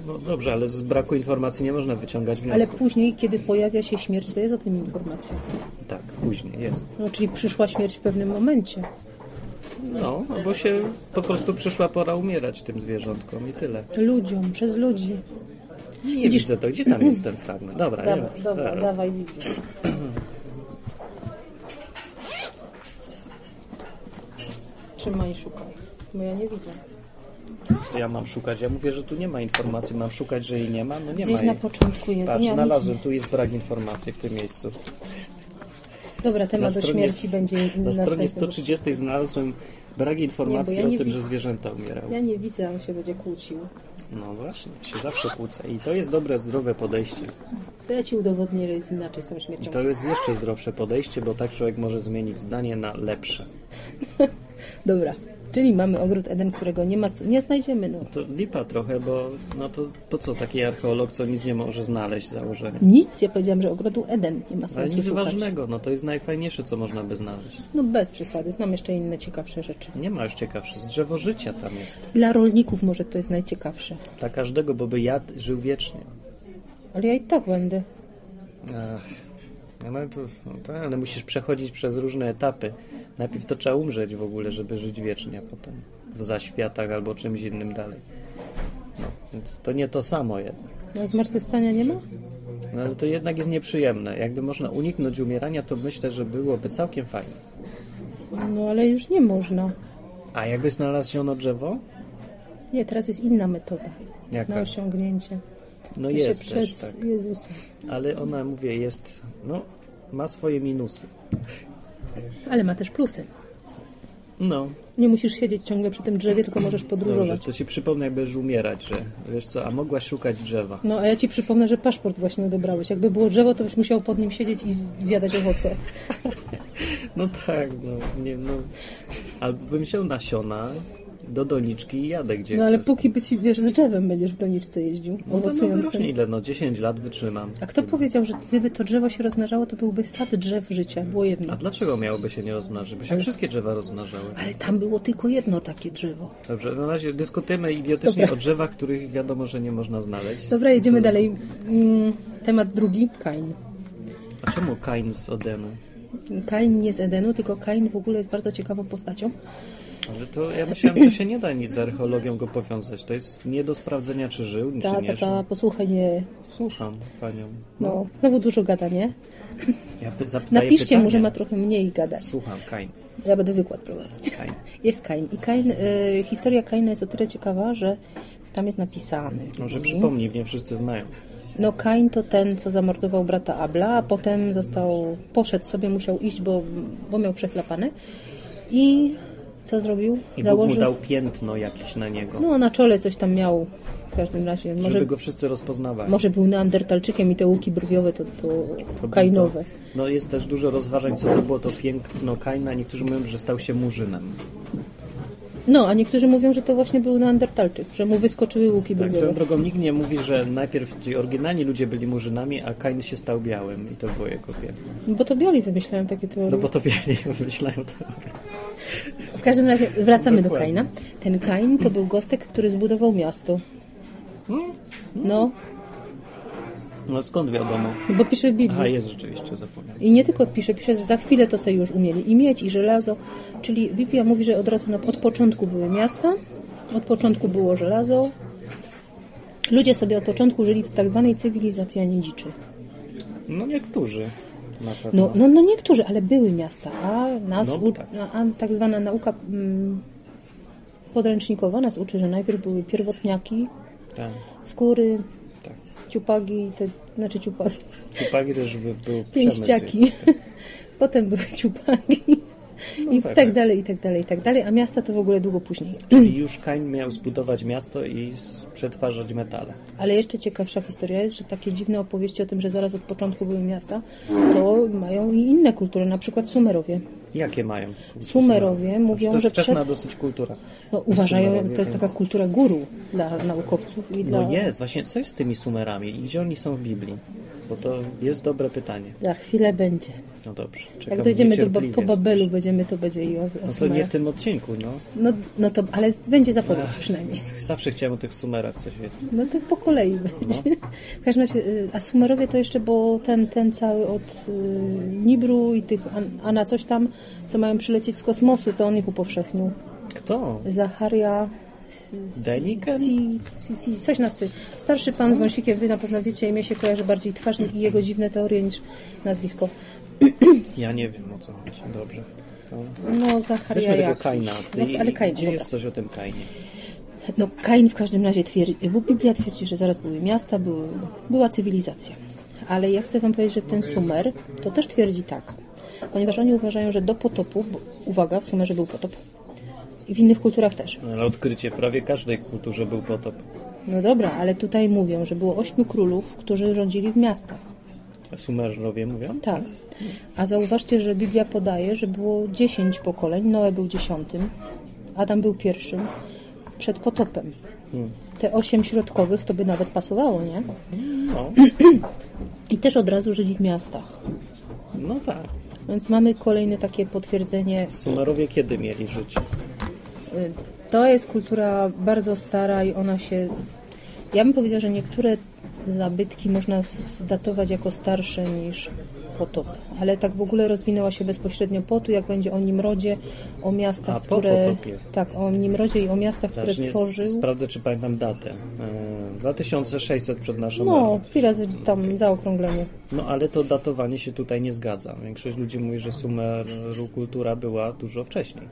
Speaker 1: No dobrze, ale z braku informacji nie można wyciągać
Speaker 2: Ale
Speaker 1: wniosków.
Speaker 2: później, kiedy pojawia się śmierć, to jest o tym informacja.
Speaker 1: Tak, później jest.
Speaker 2: No czyli przyszła śmierć w pewnym momencie.
Speaker 1: No, bo się po prostu przyszła pora umierać tym zwierzątkom i tyle.
Speaker 2: Ludziom, przez ludzi.
Speaker 1: Nie widzę to, gdzie tam jest ten fragment. Dobra, nie
Speaker 2: Dobra,
Speaker 1: wiem.
Speaker 2: dobra,
Speaker 1: Dobra.
Speaker 2: dawaj Biblię. Trzymaj i szukaj. Bo ja nie widzę.
Speaker 1: Co ja mam szukać? Ja mówię, że tu nie ma informacji. Mam szukać, że jej nie ma? No nie
Speaker 2: Gdzieś
Speaker 1: ma jej.
Speaker 2: na początku jest.
Speaker 1: Patrz,
Speaker 2: nie,
Speaker 1: Tak, znalazłem,
Speaker 2: nic
Speaker 1: tu jest brak informacji w tym miejscu.
Speaker 2: nie. Dobra, temat o No, śmierci będzie
Speaker 1: na stronie
Speaker 2: następny.
Speaker 1: 130 znalazłem brak informacji
Speaker 2: Nie, bo ja
Speaker 1: o
Speaker 2: nie
Speaker 1: tym,
Speaker 2: wi-
Speaker 1: że zwierzęta umierały.
Speaker 2: Ja nie widzę, a on się będzie kłócił.
Speaker 1: No właśnie, się zawsze kłócę. I to jest dobre, zdrowe podejście.
Speaker 2: To ja ci udowodnię, że jest inaczej z tą śmiercią.
Speaker 1: To jest jeszcze zdrowsze podejście, bo tak człowiek może zmienić zdanie na lepsze.
Speaker 2: Dobra, czyli mamy ogród Eden, którego nie ma, co... nie znajdziemy. No.
Speaker 1: To lipa trochę, bo no to po co taki archeolog, co nic nie może znaleźć założenie?
Speaker 2: Nic, ja powiedziałam, że ogrodu Eden nie ma
Speaker 1: Ale
Speaker 2: sensu
Speaker 1: nic
Speaker 2: szukać.
Speaker 1: ważnego, no to jest najfajniejsze, co można by znaleźć.
Speaker 2: No bez przesady, znam jeszcze inne ciekawsze rzeczy.
Speaker 1: Nie ma już ciekawsze, drzewo życia tam jest.
Speaker 2: Dla rolników może to jest najciekawsze,
Speaker 1: Dla każdego, bo by jadł, żył wiecznie.
Speaker 2: ale ja i tak będę.
Speaker 1: Ach, Ale, to, no tak, ale musisz przechodzić przez różne etapy. Najpierw to trzeba umrzeć w ogóle, żeby żyć wiecznie, a potem w zaświatach albo czymś innym dalej. No, więc to nie to samo jednak.
Speaker 2: No, zmartwychwstania nie ma?
Speaker 1: No, ale to jednak jest nieprzyjemne. Jakby można uniknąć umierania, to myślę, że byłoby całkiem fajnie.
Speaker 2: No ale już nie można.
Speaker 1: A jakby znaleziono drzewo?
Speaker 2: Nie, teraz jest inna metoda na
Speaker 1: Jaka?
Speaker 2: osiągnięcie.
Speaker 1: Tak, No
Speaker 2: To się
Speaker 1: jest też,
Speaker 2: przez
Speaker 1: tak.
Speaker 2: Jezusa.
Speaker 1: Ale ona, mówię, jest... No, ma swoje minusy.
Speaker 2: Ale ma też plusy.
Speaker 1: No,
Speaker 2: Nie musisz siedzieć ciągle przy tym drzewie, tylko możesz
Speaker 1: dobrze.
Speaker 2: podróżować.
Speaker 1: To się przypomnę, jak będziesz umierać, że wiesz co, a mogłaś szukać drzewa.
Speaker 2: No a ja ci przypomnę, że paszport właśnie odebrałeś. Jakby było drzewo, to byś musiał pod nim siedzieć i zjadać owoce.
Speaker 1: No tak, no, nie, no. Albo bym wziął nasiona do doniczki i jadę gdzie
Speaker 2: No ale
Speaker 1: chcę.
Speaker 2: póki by ci, wiesz, z drzewem będziesz w doniczce jeździł,
Speaker 1: No to no, wyrośnie
Speaker 2: owocującym.
Speaker 1: ile, no 10 lat wytrzymam.
Speaker 2: A kto powiedział, że gdyby to drzewo się rozmnażało, to byłby sad drzew życia, było jedno.
Speaker 1: A dlaczego miałoby się nie rozmnażyć? Bo się wszystkie drzewa rozmnażały.
Speaker 2: Ale tam było tylko jedno takie drzewo.
Speaker 1: Dobrze, na razie dyskutujemy idiotycznie
Speaker 2: Dobra. No.
Speaker 1: o drzewach, których wiadomo, że nie można znaleźć.
Speaker 2: Dobra, jedziemy dalej. Mm, Temat drugi, Kain.
Speaker 1: A czemu Kain z Odenu?
Speaker 2: Kain nie z Edenu, tylko Kain w ogóle jest bardzo ciekawą postacią.
Speaker 1: Że to ja myślałem, to się nie da nic z archeologią go powiązać. To jest nie do sprawdzenia, czy żył, czy
Speaker 2: Ta,
Speaker 1: nie
Speaker 2: ta,
Speaker 1: żył.
Speaker 2: ta, posłuchaj mnie.
Speaker 1: Słucham panią.
Speaker 2: No, znowu dużo gada, nie?
Speaker 1: Ja py- zapytaję
Speaker 2: Napiszcie
Speaker 1: pytanie.
Speaker 2: mu, że ma trochę mniej gadać.
Speaker 1: Słucham, Kain.
Speaker 2: Ja będę wykład prowadzić.
Speaker 1: Kain.
Speaker 2: Jest Kain. I Kain, y, historia Kaina jest o tyle ciekawa, że tam jest napisany.
Speaker 1: Może przypomnij, nie wszyscy znają.
Speaker 2: No Kain to ten, co zamordował brata Abla, a potem został, poszedł sobie, musiał iść, bo, bo miał przechlapane. I co zrobił?
Speaker 1: I Bóg mu dał piętno jakieś na niego,
Speaker 2: No, na czole coś tam miał. W każdym razie, może,
Speaker 1: żeby go wszyscy rozpoznawali.
Speaker 2: może był neandertalczykiem i te łuki brwiowe to, to,
Speaker 1: To-
Speaker 2: kainowe.
Speaker 1: to- No jest też dużo rozważań, co to było to piękno Kaina. Niektórzy mówią, że stał się murzynem. Tak,
Speaker 2: No, a niektórzy mówią, że to właśnie był neandertalczyk, że mu wyskoczyły
Speaker 1: Tak,
Speaker 2: łuki
Speaker 1: swoją
Speaker 2: brwiowe.
Speaker 1: drogą nikt nie mówi, że najpierw ci oryginalni ludzie byli murzynami, a Kain się stał białym i to było jego piękno.
Speaker 2: No Bo to biali wymyślają takie teorie.
Speaker 1: No bo to biali myślałem to.
Speaker 2: W każdym razie wracamy do
Speaker 1: Dokładnie.
Speaker 2: Kaina. Ten Kain to był gostek, który zbudował miasto.
Speaker 1: Hmm?
Speaker 2: No,
Speaker 1: No skąd wiadomo?
Speaker 2: bo pisze Biblia.
Speaker 1: Aha, jest rzeczywiście, zapomniałem.
Speaker 2: I nie tylko pisze, pisze, że za chwilę to sobie już umieli i mieć, i żelazo. Czyli Biblia mówi, że od razu na, od początku były miasta, od początku było żelazo. Ludzie sobie od początku żyli w tak zwanej cywilizacji, a nie dziczy.
Speaker 1: No niektórzy na pewno.
Speaker 2: No, no, no niektórzy, ale były miasta, a nas
Speaker 1: No,
Speaker 2: u,
Speaker 1: tak.
Speaker 2: a, a tak zwana nauka mm, podręcznikowa nas uczy, że najpierw były pierwotniaki,
Speaker 1: Tak,
Speaker 2: skóry,
Speaker 1: tak.
Speaker 2: ciupagi, te, znaczy ciupagi,
Speaker 1: Chłopaki też by był przemysł.
Speaker 2: pięściaki, potem były ciupagi i
Speaker 1: tak,
Speaker 2: tak, tak
Speaker 1: tak.
Speaker 2: dalej, i tak dalej, i tak dalej, a miasta to w ogóle długo później.
Speaker 1: Czyli już Kain miał zbudować miasto i s- przetwarzać metale.
Speaker 2: Ale jeszcze ciekawsza historia jest, że takie dziwne opowieści o tym, że zaraz od początku były miasta, to mają i inne kultury, na przykład Sumerowie.
Speaker 1: Jakie mają? Znaczy,
Speaker 2: Sumerowie
Speaker 1: to
Speaker 2: mówią,
Speaker 1: jest
Speaker 2: że
Speaker 1: wczesna
Speaker 2: przed...
Speaker 1: dosyć kultura.
Speaker 2: No, uważają,
Speaker 1: Sumerowie,
Speaker 2: to jest taka kultura guru dla naukowców i dla...
Speaker 1: No jest, właśnie co jest z tymi Sumerami i gdzie oni są w Biblii? Bo to jest dobre pytanie.
Speaker 2: Za chwilę będzie.
Speaker 1: No dobrze, czekam
Speaker 2: Jak dojdziemy do, ba-
Speaker 1: niecierpliwie.
Speaker 2: po Babelu, będziemy to będzie i o, o
Speaker 1: No to nie
Speaker 2: Sumerach.
Speaker 1: w tym odcinku, no.
Speaker 2: no, no to, ale będzie zapowiedź przynajmniej.
Speaker 1: Zawsze chciałem o tych Sumerach coś wiedzieć.
Speaker 2: No to po kolei będzie. W każdym razie, y, a Sumerowie to jeszcze, bo ten, ten cały od y, Nibru i tych, a, a na coś tam, co mają przylecieć z kosmosu, to on ich upowszechnił.
Speaker 1: Kto?
Speaker 2: Zacharia...
Speaker 1: Deniken?
Speaker 2: Si, si, si, coś na sy. Starszy pan z
Speaker 1: No.
Speaker 2: wąsikiem, wy na pewno wiecie, imię się kojarzy bardziej twarznik i jego dziwne teorie niż nazwisko.
Speaker 1: Ja nie wiem o co chodzi. Dobrze. To...
Speaker 2: No, Zacharia
Speaker 1: Weźmy tego
Speaker 2: jakiś.
Speaker 1: Kaina.
Speaker 2: No,
Speaker 1: Ty,
Speaker 2: ale Kain,
Speaker 1: gdzie
Speaker 2: dobra.
Speaker 1: jest coś o tym Kainie?
Speaker 2: No, Kain w każdym razie twierdzi, bo Biblia twierdzi, że zaraz były miasta, były, była cywilizacja. Ale ja chcę Wam powiedzieć, że ten Sumer to też twierdzi tak. Ponieważ oni uważają, że do potopu, bo, uwaga, w Sumerze był potop. I w innych kulturach też.
Speaker 1: No, ale odkrycie w prawie każdej kulturze był potop.
Speaker 2: No dobra, ale tutaj mówią, że było ośmiu królów, którzy rządzili w miastach.
Speaker 1: Sumerowie mówią?
Speaker 2: Tak. A zauważcie, że Biblia podaje, że było 10 pokoleń. Noe był dziesiątym, Adam był pierwszym przed potopem. Te osiem środkowych to by nawet pasowało, nie?
Speaker 1: No,
Speaker 2: I też od razu żyli w miastach.
Speaker 1: no tak.
Speaker 2: Więc mamy kolejne takie potwierdzenie.
Speaker 1: Sumerowie kiedy mieli żyć?
Speaker 2: Y, To jest kultura bardzo stara i ona się. Ja bym powiedziała, że niektóre zabytki można zdatować jako starsze niż potop, ale tak w ogóle rozwinęła się bezpośrednio po tu, jak będzie o Nimrodzie, o miastach,
Speaker 1: A, po
Speaker 2: które...
Speaker 1: potopie.
Speaker 2: Tak, o Nimrodzie i o miastach, które
Speaker 1: Zacznie,
Speaker 2: stworzył. No,
Speaker 1: sprawdzę, czy pamiętam datę. E, 2600 przed naszą erą.
Speaker 2: No, chwilę z- tam zaokrąglenie.
Speaker 1: No ale to datowanie się tutaj nie zgadza. Większość ludzi mówi, że Sumeru kultura była dużo wcześniej.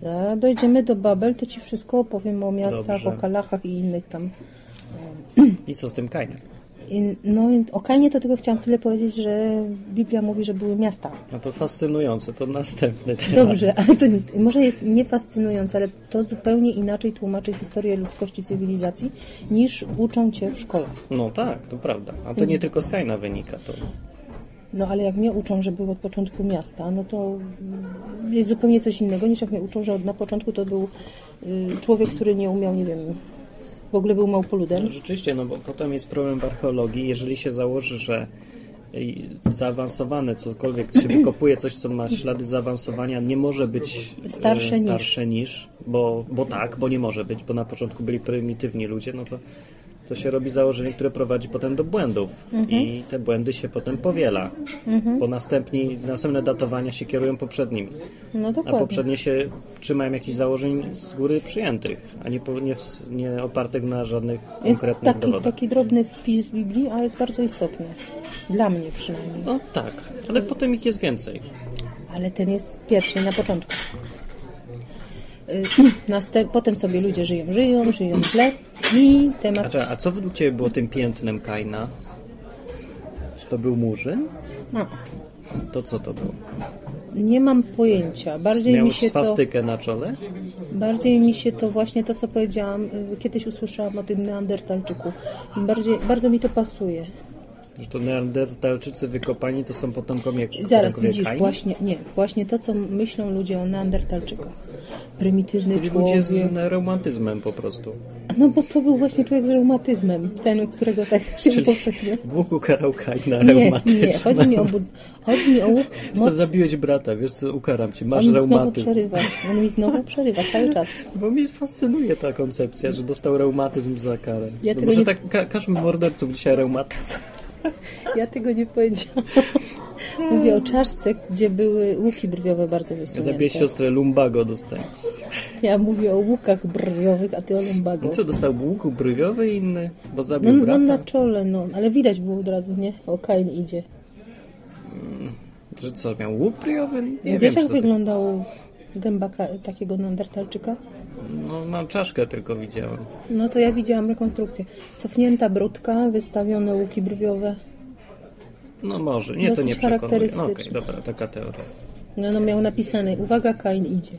Speaker 2: Ta, dojdziemy do Babel, to Ci wszystko opowiem o miastach,
Speaker 1: Dobrze.
Speaker 2: o kalachach i innych tam.
Speaker 1: I co z tym Kainem?
Speaker 2: I, no, i o Kainie to tylko chciałam tyle powiedzieć, że Biblia mówi, że były miasta.
Speaker 1: No to fascynujące, to następny temat.
Speaker 2: Dobrze, ale to może jest niefascynujące, ale to zupełnie inaczej tłumaczy historię ludzkości cywilizacji niż uczą cię w szkole.
Speaker 1: No tak, to prawda. A to nie tylko z Kaina wynika. To...
Speaker 2: No ale jak mnie uczą, że był od początku miasta, no to mm, jest zupełnie coś innego niż jak mnie uczą, że od na początku to był y, człowiek, który nie umiał, nie wiem, w ogóle był małpoludem.
Speaker 1: No, rzeczywiście, no bo potem jest problem w archeologii. Jeżeli się założy, że y, zaawansowane cokolwiek, się wykopuje coś, co ma ślady zaawansowania, nie może być y,
Speaker 2: Starsze niż.
Speaker 1: starsze niż bo, bo tak, bo nie może być, bo na początku byli prymitywni ludzie, no to to się robi założenie, które prowadzi potem do błędów
Speaker 2: Mhm.
Speaker 1: i te błędy się potem powiela, bo następni, następne datowania się kierują poprzednimi.
Speaker 2: No
Speaker 1: A
Speaker 2: dokładnie.
Speaker 1: poprzednie się trzymają jakichś założeń z góry przyjętych, a nie, po- nie, w- nie opartych na żadnych
Speaker 2: Jest
Speaker 1: konkretnych
Speaker 2: taki,
Speaker 1: dowodach.
Speaker 2: taki drobny wpis w Biblii, a jest bardzo istotny. Dla mnie przynajmniej.
Speaker 1: No tak, ale potem ich jest więcej.
Speaker 2: Ale ten jest pierwszy na początku. Y, Następ, potem sobie ludzie żyją, żyją, żyją źle i
Speaker 1: A,
Speaker 2: temat.
Speaker 1: czekaj, Znaczy, a co według Ciebie było tym piętnem Kaina? Czy to był murzyn?
Speaker 2: No,
Speaker 1: To co to było?
Speaker 2: nie mam pojęcia. Bardziej
Speaker 1: Miał
Speaker 2: mi, się to,
Speaker 1: swastykę na czole?
Speaker 2: bardziej mi się to właśnie to, co powiedziałam, y, kiedyś usłyszałam o tym Neandertalczyku. Bardziej, bardzo mi to pasuje.
Speaker 1: Że to neandertalczycy wykopani to są potomkowie
Speaker 2: Zaraz
Speaker 1: potomkowie
Speaker 2: widzisz,
Speaker 1: Kain?
Speaker 2: właśnie, nie, właśnie to, co myślą ludzie o Neandertalczykach. Prymitywny
Speaker 1: Czyli Ludzie
Speaker 2: człowiek.
Speaker 1: z reumatyzmem po prostu.
Speaker 2: No bo to był właśnie człowiek z reumatyzmem, ten, którego tak się powszechnie.
Speaker 1: Bóg ukarał Kaina
Speaker 2: Nie, nie,
Speaker 1: reumatyzmem.
Speaker 2: chodzi mi o, bud- chodzi mi o
Speaker 1: Co,
Speaker 2: moc...
Speaker 1: zabiłeś brata, wiesz co, ukaram cię, masz
Speaker 2: On mi znowu
Speaker 1: reumatyzm.
Speaker 2: przerywa, on mi znowu przerywa cały czas.
Speaker 1: Bo mnie fascynuje ta koncepcja, że dostał reumatyzm za karę.
Speaker 2: Ja
Speaker 1: no
Speaker 2: tego
Speaker 1: może
Speaker 2: nie-
Speaker 1: tak ka- każdy morderców dzisiaj reumatyzm.
Speaker 2: Ja tego nie powiedziałam. Mówię o czaszce, gdzie były łuki brwiowe bardzo wysunięte.
Speaker 1: Zabiłeś siostrę Lumbago dostał.
Speaker 2: Ja mówię o łukach brwiowych, a ty o lumbago.
Speaker 1: No co, dostał łuk brwiowy i inny, bo zabił
Speaker 2: No, no
Speaker 1: brata?
Speaker 2: na czole, no, ale widać było od razu, nie? O, Kain idzie.
Speaker 1: Że co, miał łuk brwiowy? Nie
Speaker 2: no. Wiesz,
Speaker 1: wiem,
Speaker 2: jak
Speaker 1: czy to...
Speaker 2: wyglądał gęba ka- takiego neandertalczyka?
Speaker 1: No mam czaszkę tylko widziałem.
Speaker 2: No to ja widziałam rekonstrukcję. Cofnięta brudka, wystawione łuki brwiowe.
Speaker 1: No może, nie, to
Speaker 2: Dosyć
Speaker 1: nie przekonuje. No okej,
Speaker 2: charakterystyczne.
Speaker 1: dobra, taka teoria.
Speaker 2: No, no miał napisane, uwaga, Kain idzie.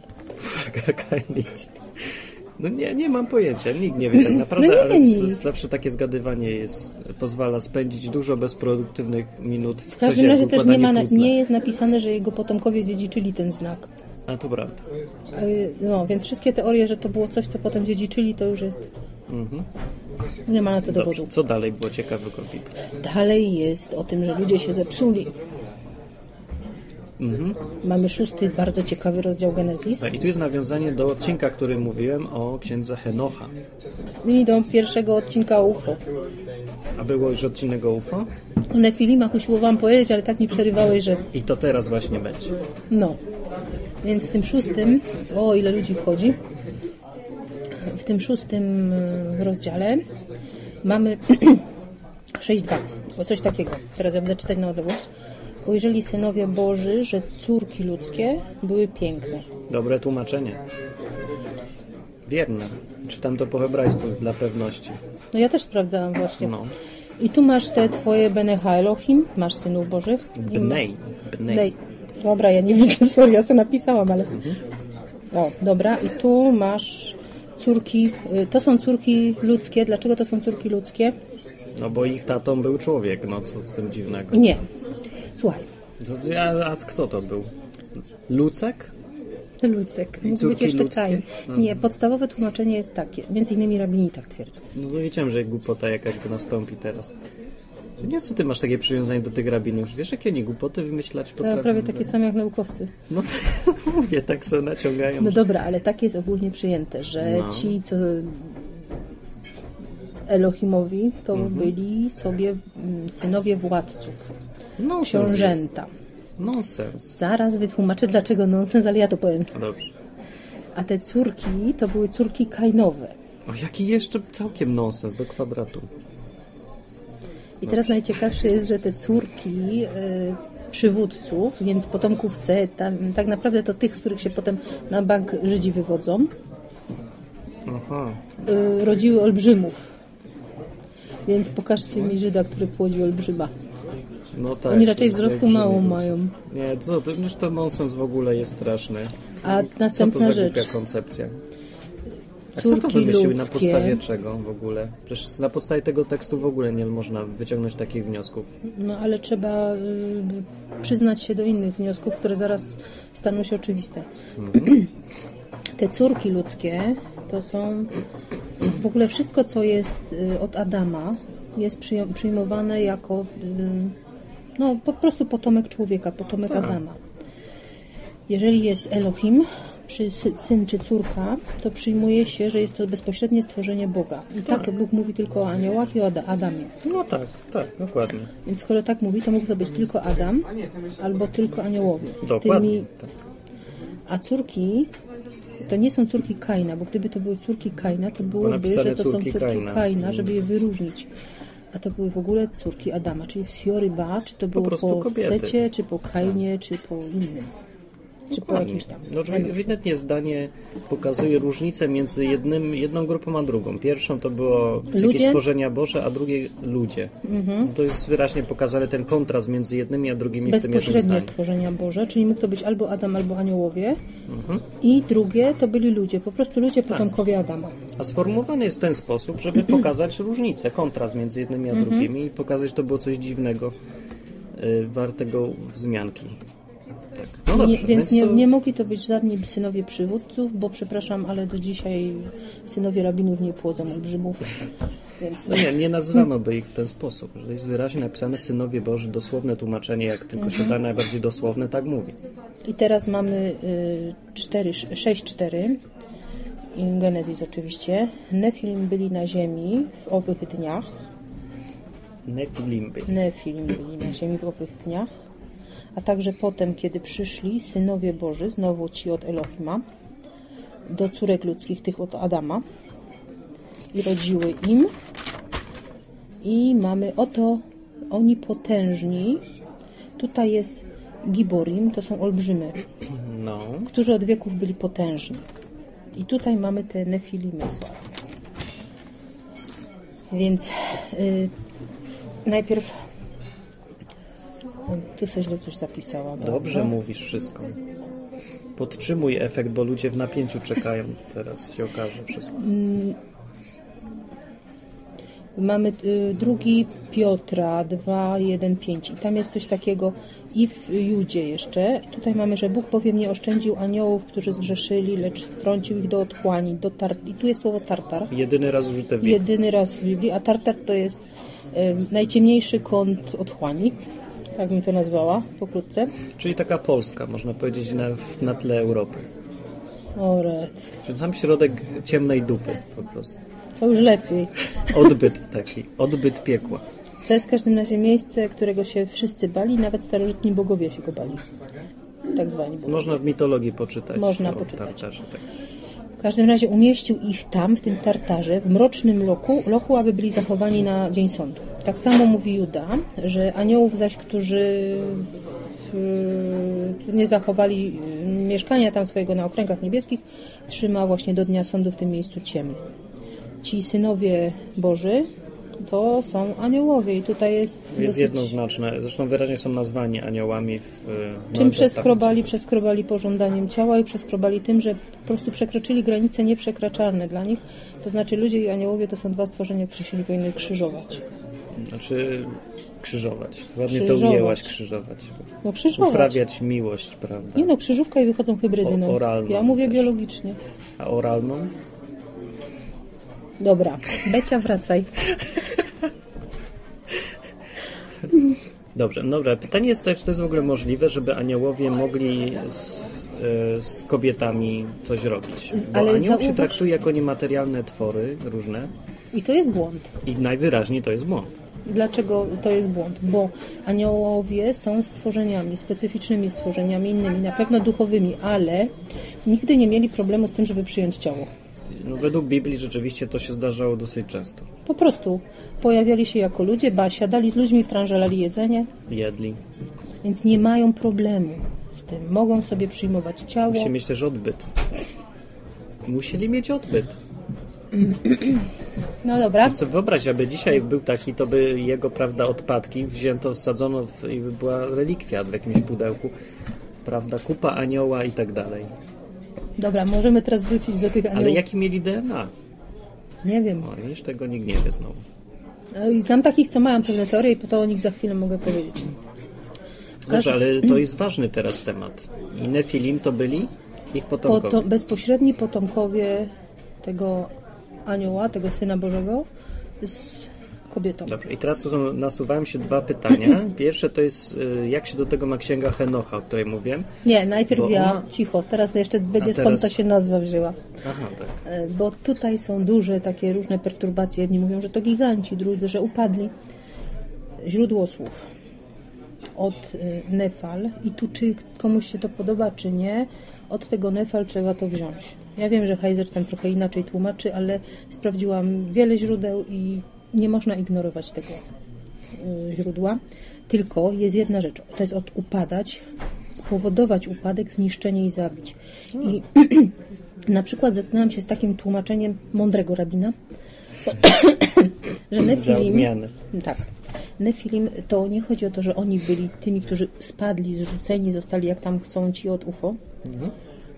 Speaker 1: Taka kajnić. No nie, nie mam pojęcia, nikt nie wie tak naprawdę,
Speaker 2: No nie
Speaker 1: ale
Speaker 2: wiem
Speaker 1: z-
Speaker 2: nic.
Speaker 1: zawsze takie zgadywanie jest, pozwala spędzić dużo bezproduktywnych minut w
Speaker 2: W każdym razie też nie, ma, na-
Speaker 1: puzzle.
Speaker 2: nie jest napisane, że jego potomkowie dziedziczyli ten znak.
Speaker 1: A to prawda.
Speaker 2: Yy, No, więc wszystkie teorie, że to było coś, co potem dziedziczyli, to już jest. Nie ma na to
Speaker 1: Mhm. Dobrze,
Speaker 2: dowodu.
Speaker 1: co dalej było ciekawego w Biblii?
Speaker 2: Dalej jest o tym, że ludzie się zepsuli.
Speaker 1: Mhm.
Speaker 2: Mamy szósty, bardzo ciekawy rozdział Genezis.
Speaker 1: No I tu jest nawiązanie do odcinka, który mówiłem o księdze Henocha.
Speaker 2: I do pierwszego odcinka o UFO.
Speaker 1: A było już odcinek o UFO?
Speaker 2: O Nefilimach usiłowałam powiedzieć, ale tak mi przerywałeś, że
Speaker 1: I to teraz właśnie będzie.
Speaker 2: No, więc w tym szóstym, o ile ludzi wchodzi, w tym szóstym e, rozdziale mamy 6.2, bo coś takiego, teraz ja będę czytać na odległość. Ujrzeli synowie Boży, że córki ludzkie były piękne.
Speaker 1: Dobre tłumaczenie. Wierne. Czytam to po hebrajsku dla pewności.
Speaker 2: No ja też sprawdzałam właśnie.
Speaker 1: No.
Speaker 2: I tu masz te twoje Benecha Elohim, masz synów Bożych. i ma-
Speaker 1: Bnej. Bnej.
Speaker 2: Dej. Dobra, ja nie widzę, sorry, ja sobie napisałam, ale... O, dobra, i tu masz córki, y, to są córki ludzkie. Dlaczego to są córki ludzkie?
Speaker 1: No bo ich tatą był człowiek, no co z tym dziwnego.
Speaker 2: Nie. Słuchaj,
Speaker 1: To- A, a kto to był? Lucek?
Speaker 2: Lucek, mógł być
Speaker 1: córki
Speaker 2: jeszcze
Speaker 1: ludzkie? Mhm.
Speaker 2: Kain. Nie, podstawowe tłumaczenie jest takie, między innymi rabini tak twierdzą.
Speaker 1: No to wiedziałem, że głupota jakaś by nastąpi teraz. To Nie, co ty masz takie przywiązanie do tych rabinów? Wiesz, jakie oni głupoty wymyślać
Speaker 2: To
Speaker 1: potrafią?
Speaker 2: prawie tak- takie same jak naukowcy.
Speaker 1: No mówię, tak sobie naciągają.
Speaker 2: No dobra, ale takie jest ogólnie przyjęte, że
Speaker 1: No.
Speaker 2: ci, co
Speaker 1: Mhm.
Speaker 2: Elohimowi, to byli sobie mm, synowie władców.
Speaker 1: Nonsens
Speaker 2: książęta.
Speaker 1: Nonsens.
Speaker 2: Zaraz wytłumaczę, dlaczego nonsens, ale ja to powiem.
Speaker 1: Dobrze.
Speaker 2: A te córki to były córki kainowe.
Speaker 1: O, jaki jeszcze całkiem nonsens do kwadratu.
Speaker 2: I teraz najciekawsze jest, że te córki y, przywódców, więc potomków Seta, m, tak naprawdę to tych, z których się potem na bank Żydzi wywodzą,
Speaker 1: Aha.
Speaker 2: y, rodziły olbrzymów. Więc pokażcie mi Żyda, który płodzi olbrzyma.
Speaker 1: No tak.
Speaker 2: Oni raczej
Speaker 1: to
Speaker 2: wzrostu
Speaker 1: olbrzymi
Speaker 2: mało
Speaker 1: był.
Speaker 2: mają.
Speaker 1: Nie, co, to, już ten nonsens w ogóle jest straszny.
Speaker 2: A
Speaker 1: Co to
Speaker 2: następna
Speaker 1: za
Speaker 2: rzecz.
Speaker 1: głupia koncepcja? A kto to
Speaker 2: Córki
Speaker 1: wymyślił i na podstawie
Speaker 2: ludzkie.
Speaker 1: czego w ogóle? Przecież na podstawie tego tekstu w ogóle nie można wyciągnąć takich wniosków.
Speaker 2: No ale trzeba y, przyznać się do innych wniosków, które zaraz staną się oczywiste. Te córki ludzkie to są w ogóle wszystko, co jest y, od Adama, jest przyjo- przyjmowane jako y, no, po prostu potomek człowieka, potomek Adama. Jeżeli jest Elohim, czy sy- syn czy córka, to przyjmuje się, że jest to bezpośrednie stworzenie Boga. I tak, to Bóg mówi tylko o aniołach i o Ada- Adamie.
Speaker 1: No tak, tak, dokładnie.
Speaker 2: Więc skoro tak mówi, to mógł to być tylko Adam albo tylko aniołowie.
Speaker 1: Dokładnie. Tak.
Speaker 2: a córki to nie są córki Kaina, bo gdyby to były córki Kaina, to byłoby,
Speaker 1: napisane
Speaker 2: że to są
Speaker 1: córki
Speaker 2: córki
Speaker 1: Kaina.
Speaker 2: Kaina, żeby je wyróżnić. A to były w ogóle córki Adama, czyli z Fioryba, czy to było po,
Speaker 1: prostu kobiety. Tak.
Speaker 2: Secie, czy po Kainie, czy po innym. Czy po jakimś tam.
Speaker 1: No, że ewidentnie zdanie pokazuje różnicę między jednym, jedną grupą a drugą. Pierwszą to było jakieś
Speaker 2: Ludzie? Mhm.
Speaker 1: stworzenia Boże, a drugie ludzie. No To jest wyraźnie pokazany ten kontrast między jednymi a drugimi w tym jednym
Speaker 2: bezpośrednie
Speaker 1: zdaniu.
Speaker 2: stworzenia Boże, czyli mógł to być albo Adam, albo aniołowie.
Speaker 1: Mhm.
Speaker 2: I drugie to byli ludzie, po prostu ludzie potomkowie Adama.
Speaker 1: A sformułowany jest w ten sposób, żeby
Speaker 2: Mhm.
Speaker 1: pokazać różnicę, kontrast między jednymi a drugimi i pokazać, że to było coś dziwnego, y, wartego wzmianki. Tak. No dobrze,
Speaker 2: nie, więc nie,
Speaker 1: to-
Speaker 2: nie mogli to być żadni synowie przywódców, bo przepraszam, ale do dzisiaj synowie rabinów nie płodzą olbrzymów. Więc
Speaker 1: No nie, nie nazywano by ich w ten sposób. że To jest wyraźnie napisane synowie Boży, dosłowne tłumaczenie, jak tylko się da najbardziej dosłowne, tak mówi.
Speaker 2: i teraz mamy y, cztery- sześć cztery. I Genezis oczywiście. Nefilim byli na ziemi w owych dniach.
Speaker 1: Nefilimby.
Speaker 2: Nefilim byli na ziemi w owych dniach. A także potem, kiedy przyszli synowie Boży, znowu ci od Elohima, do córek ludzkich, tych od Adama, i rodziły im. I mamy oto oni potężni. Tutaj jest Giborim, to są olbrzymy,
Speaker 1: No,
Speaker 2: którzy od wieków byli potężni. I tutaj mamy te nefilimy słabe. Więc y, najpierw. y, Tu sobie źle coś zapisałam.
Speaker 1: dobrze mówisz wszystko. Podtrzymuj efekt, bo ludzie w napięciu czekają. Teraz się okaże wszystko.
Speaker 2: Mamy y, drugi Piotra 2, 1, 5 i tam jest coś takiego i w Judzie jeszcze. Tutaj mamy, że Bóg bowiem nie oszczędził aniołów, którzy zgrzeszyli, lecz strącił ich do otchłani, do tar- i tu jest słowo tartar.
Speaker 1: Jedyny raz użyte w
Speaker 2: jedyny raz w Biblii, a tartar to jest em, najciemniejszy kąt otchłani, tak bym to nazwała pokrótce.
Speaker 1: Czyli taka Polska, można powiedzieć, na, w- na tle Europy.
Speaker 2: O red,
Speaker 1: Czyli sam środek ciemnej dupy po prostu.
Speaker 2: to już lepiej.
Speaker 1: Odbyt taki, odbyt piekła.
Speaker 2: To jest w każdym razie miejsce, którego się wszyscy bali, nawet starożytni bogowie się go bali. Tak zwani bogowie.
Speaker 1: Można w mitologii poczytać.
Speaker 2: Można
Speaker 1: o
Speaker 2: poczytać.
Speaker 1: Tartarze, tak.
Speaker 2: W każdym razie umieścił ich tam, w tym tartarze, w mrocznym loku, lochu, aby byli zachowani na dzień sądu. Tak samo mówi Juda, że aniołów zaś, którzy y, nie zachowali y, mieszkania tam swojego na okręgach niebieskich, trzyma właśnie do dnia sądu w tym miejscu ciemnym. Ci synowie Boży to są aniołowie i tutaj jest,
Speaker 1: Jest
Speaker 2: dosyć-
Speaker 1: jednoznaczne. Zresztą wyraźnie są nazwani aniołami w e, Nowym
Speaker 2: Czym
Speaker 1: Testamencie.
Speaker 2: przeskrobali? Przeskrobali pożądaniem ciała i przeskrobali tym, że po prostu przekroczyli granice nieprzekraczalne dla nich. To znaczy ludzie i aniołowie to są dwa stworzenia, które się nie powinny krzyżować.
Speaker 1: Znaczy krzyżować. Ładnie to
Speaker 2: Krzyżować.
Speaker 1: ujęłaś, krzyżować.
Speaker 2: No krzyżować.
Speaker 1: Uprawiać miłość, prawda?
Speaker 2: Nie no, krzyżówka i wychodzą hybrydy.
Speaker 1: O-
Speaker 2: No.
Speaker 1: oralną
Speaker 2: Ja mówię
Speaker 1: też.
Speaker 2: biologicznie.
Speaker 1: A oralną?
Speaker 2: Dobra, Becia wracaj.
Speaker 1: Dobrze, no dobra. Pytanie jest to, czy to jest w ogóle możliwe, żeby aniołowie mogli z, e, z kobietami coś robić. Bo
Speaker 2: ale
Speaker 1: anioł się
Speaker 2: zauważ-
Speaker 1: traktuje jako niematerialne twory różne
Speaker 2: I to jest błąd.
Speaker 1: i najwyraźniej to jest błąd.
Speaker 2: Dlaczego to jest błąd? Bo aniołowie są stworzeniami, specyficznymi stworzeniami, innymi, na pewno duchowymi, ale nigdy nie mieli problemu z tym, żeby przyjąć ciało.
Speaker 1: No, według Biblii rzeczywiście to się zdarzało dosyć często.
Speaker 2: Po prostu pojawiali się jako ludzie, ba, siadali z ludźmi, wtrążalali jedzenie,
Speaker 1: Jedli.
Speaker 2: więc nie mają problemu z tym. Mogą sobie przyjmować ciało.
Speaker 1: Musi mieć też odbyt. Musieli mieć odbyt.
Speaker 2: No dobra,
Speaker 1: Sobie wyobraź, aby dzisiaj był taki, to by jego, prawda, odpadki wzięto, wsadzono w, i by była relikwia w jakimś pudełku. Prawda, kupa anioła i tak dalej.
Speaker 2: dobra, możemy teraz wrócić do tych aniołów.
Speaker 1: Ale jaki mieli DNA?
Speaker 2: Nie wiem.
Speaker 1: No, już tego nikt nie wie znowu.
Speaker 2: No i Znam takich, co mają pewne teorie i to o nich za chwilę mogę powiedzieć.
Speaker 1: Dobrze, ale to jest ważny teraz temat. I Nefilim to byli ich potomkowie.
Speaker 2: Poto- bezpośredni potomkowie tego anioła, tego Syna Bożego z kobietą.
Speaker 1: Dobrze, i teraz tu są, nasuwają się dwa pytania. Pierwsze to jest, y, jak się do tego ma księga Henocha, o której mówiłem?
Speaker 2: Nie, najpierw
Speaker 1: Bo
Speaker 2: ja,
Speaker 1: ona-
Speaker 2: cicho, teraz jeszcze będzie
Speaker 1: A
Speaker 2: skąd
Speaker 1: teraz-
Speaker 2: to się nazwa wzięła.
Speaker 1: Aha, tak.
Speaker 2: E, Bo tutaj są duże takie różne perturbacje. Jedni mówią, że to giganci, drudzy, że upadli. Źródło słów od y, Nefal i tu czy komuś się to podoba, czy nie, od tego Nefal trzeba to wziąć. Ja wiem, że Heiser tam trochę inaczej tłumaczy, ale sprawdziłam wiele źródeł i nie można ignorować tego y, źródła. Tylko jest jedna rzecz, to jest od upadać, spowodować upadek, zniszczenie i zabić. I na przykład zetknęłam się z takim tłumaczeniem mądrego rabina, że
Speaker 1: Za
Speaker 2: Nefilim...
Speaker 1: odmiany.
Speaker 2: Tak. Nefilim to nie chodzi o to, że oni byli tymi, którzy spadli, zrzuceni, zostali jak tam chcą ci od UFO,
Speaker 1: Mhm.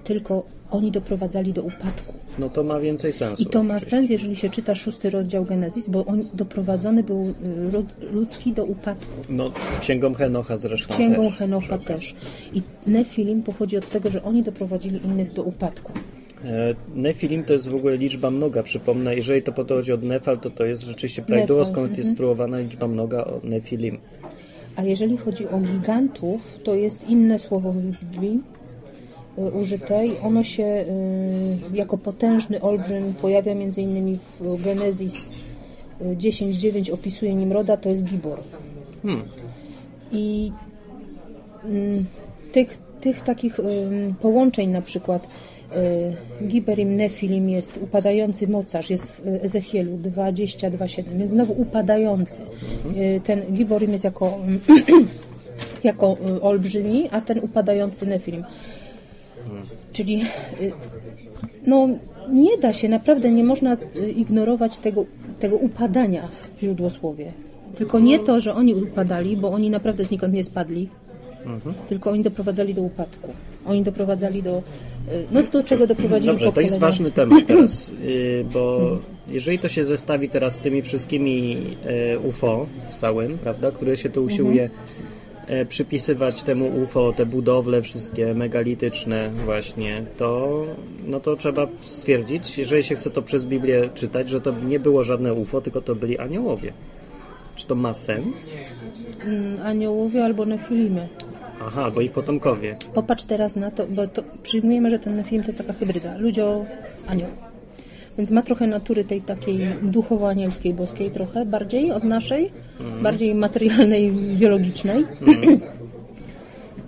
Speaker 2: tylko oni doprowadzali do upadku.
Speaker 1: No to ma więcej sensu.
Speaker 2: I to ma sens, jeżeli się czyta szósty rozdział Genezis, bo on doprowadzony był y, lud- ludzki do upadku.
Speaker 1: No, z księgą Henocha zresztą
Speaker 2: Księgą
Speaker 1: też.
Speaker 2: Henocha też. I Nefilim pochodzi od tego, że oni doprowadzili innych do upadku.
Speaker 1: E, Nefilim to jest w ogóle liczba mnoga, przypomnę. Jeżeli to podchodzi od Nefal, to to jest rzeczywiście prawidłowo
Speaker 2: Nefal, mhm.
Speaker 1: skonstruowana liczba mnoga od Nefilim.
Speaker 2: A jeżeli chodzi o gigantów, to jest inne słowo w Biblii y, użyte i ono się y, jako potężny olbrzym pojawia między innymi w Genezis y, 10.9 opisuje Nimroda, to jest Gibor. I mm, tych, tych takich ym, połączeń na przykład y, Giberim Nefilim jest upadający mocarz, jest w y, Ezechielu 22.7, więc znowu upadający. Y, ten Giborim jest jako, jako y, olbrzymi, a ten upadający Nefilim. Czyli y, no, nie da się, naprawdę nie można y, ignorować tego, tego upadania w źródłosłowie. Tylko nie to, że oni upadali, bo oni naprawdę znikąd nie spadli,
Speaker 1: Mhm.
Speaker 2: tylko oni doprowadzali do upadku. Oni doprowadzali do. y, No do czego doprowadzili
Speaker 1: Dobrze, to jest
Speaker 2: pokolenia.
Speaker 1: ważny temat teraz, y, bo jeżeli to się zestawi teraz z tymi wszystkimi e, UFO z całym, prawda, które się
Speaker 2: Mhm.
Speaker 1: tu usiłuje e, przypisywać temu UFO, te budowle wszystkie megalityczne właśnie, to no to trzeba stwierdzić, jeżeli się chce to przez Biblię czytać, że to nie było żadne UFO, tylko to byli aniołowie. Czy to ma sens?
Speaker 2: Mm, Aniołowie albo Nefilimy.
Speaker 1: Aha, bo ich potomkowie.
Speaker 2: Popatrz teraz na to, bo to przyjmujemy, że ten film to jest taka hybryda. Ludzio, anioł. Więc ma trochę natury tej takiej duchowo anielskiej, boskiej trochę, bardziej od naszej,
Speaker 1: Mhm.
Speaker 2: bardziej materialnej, biologicznej.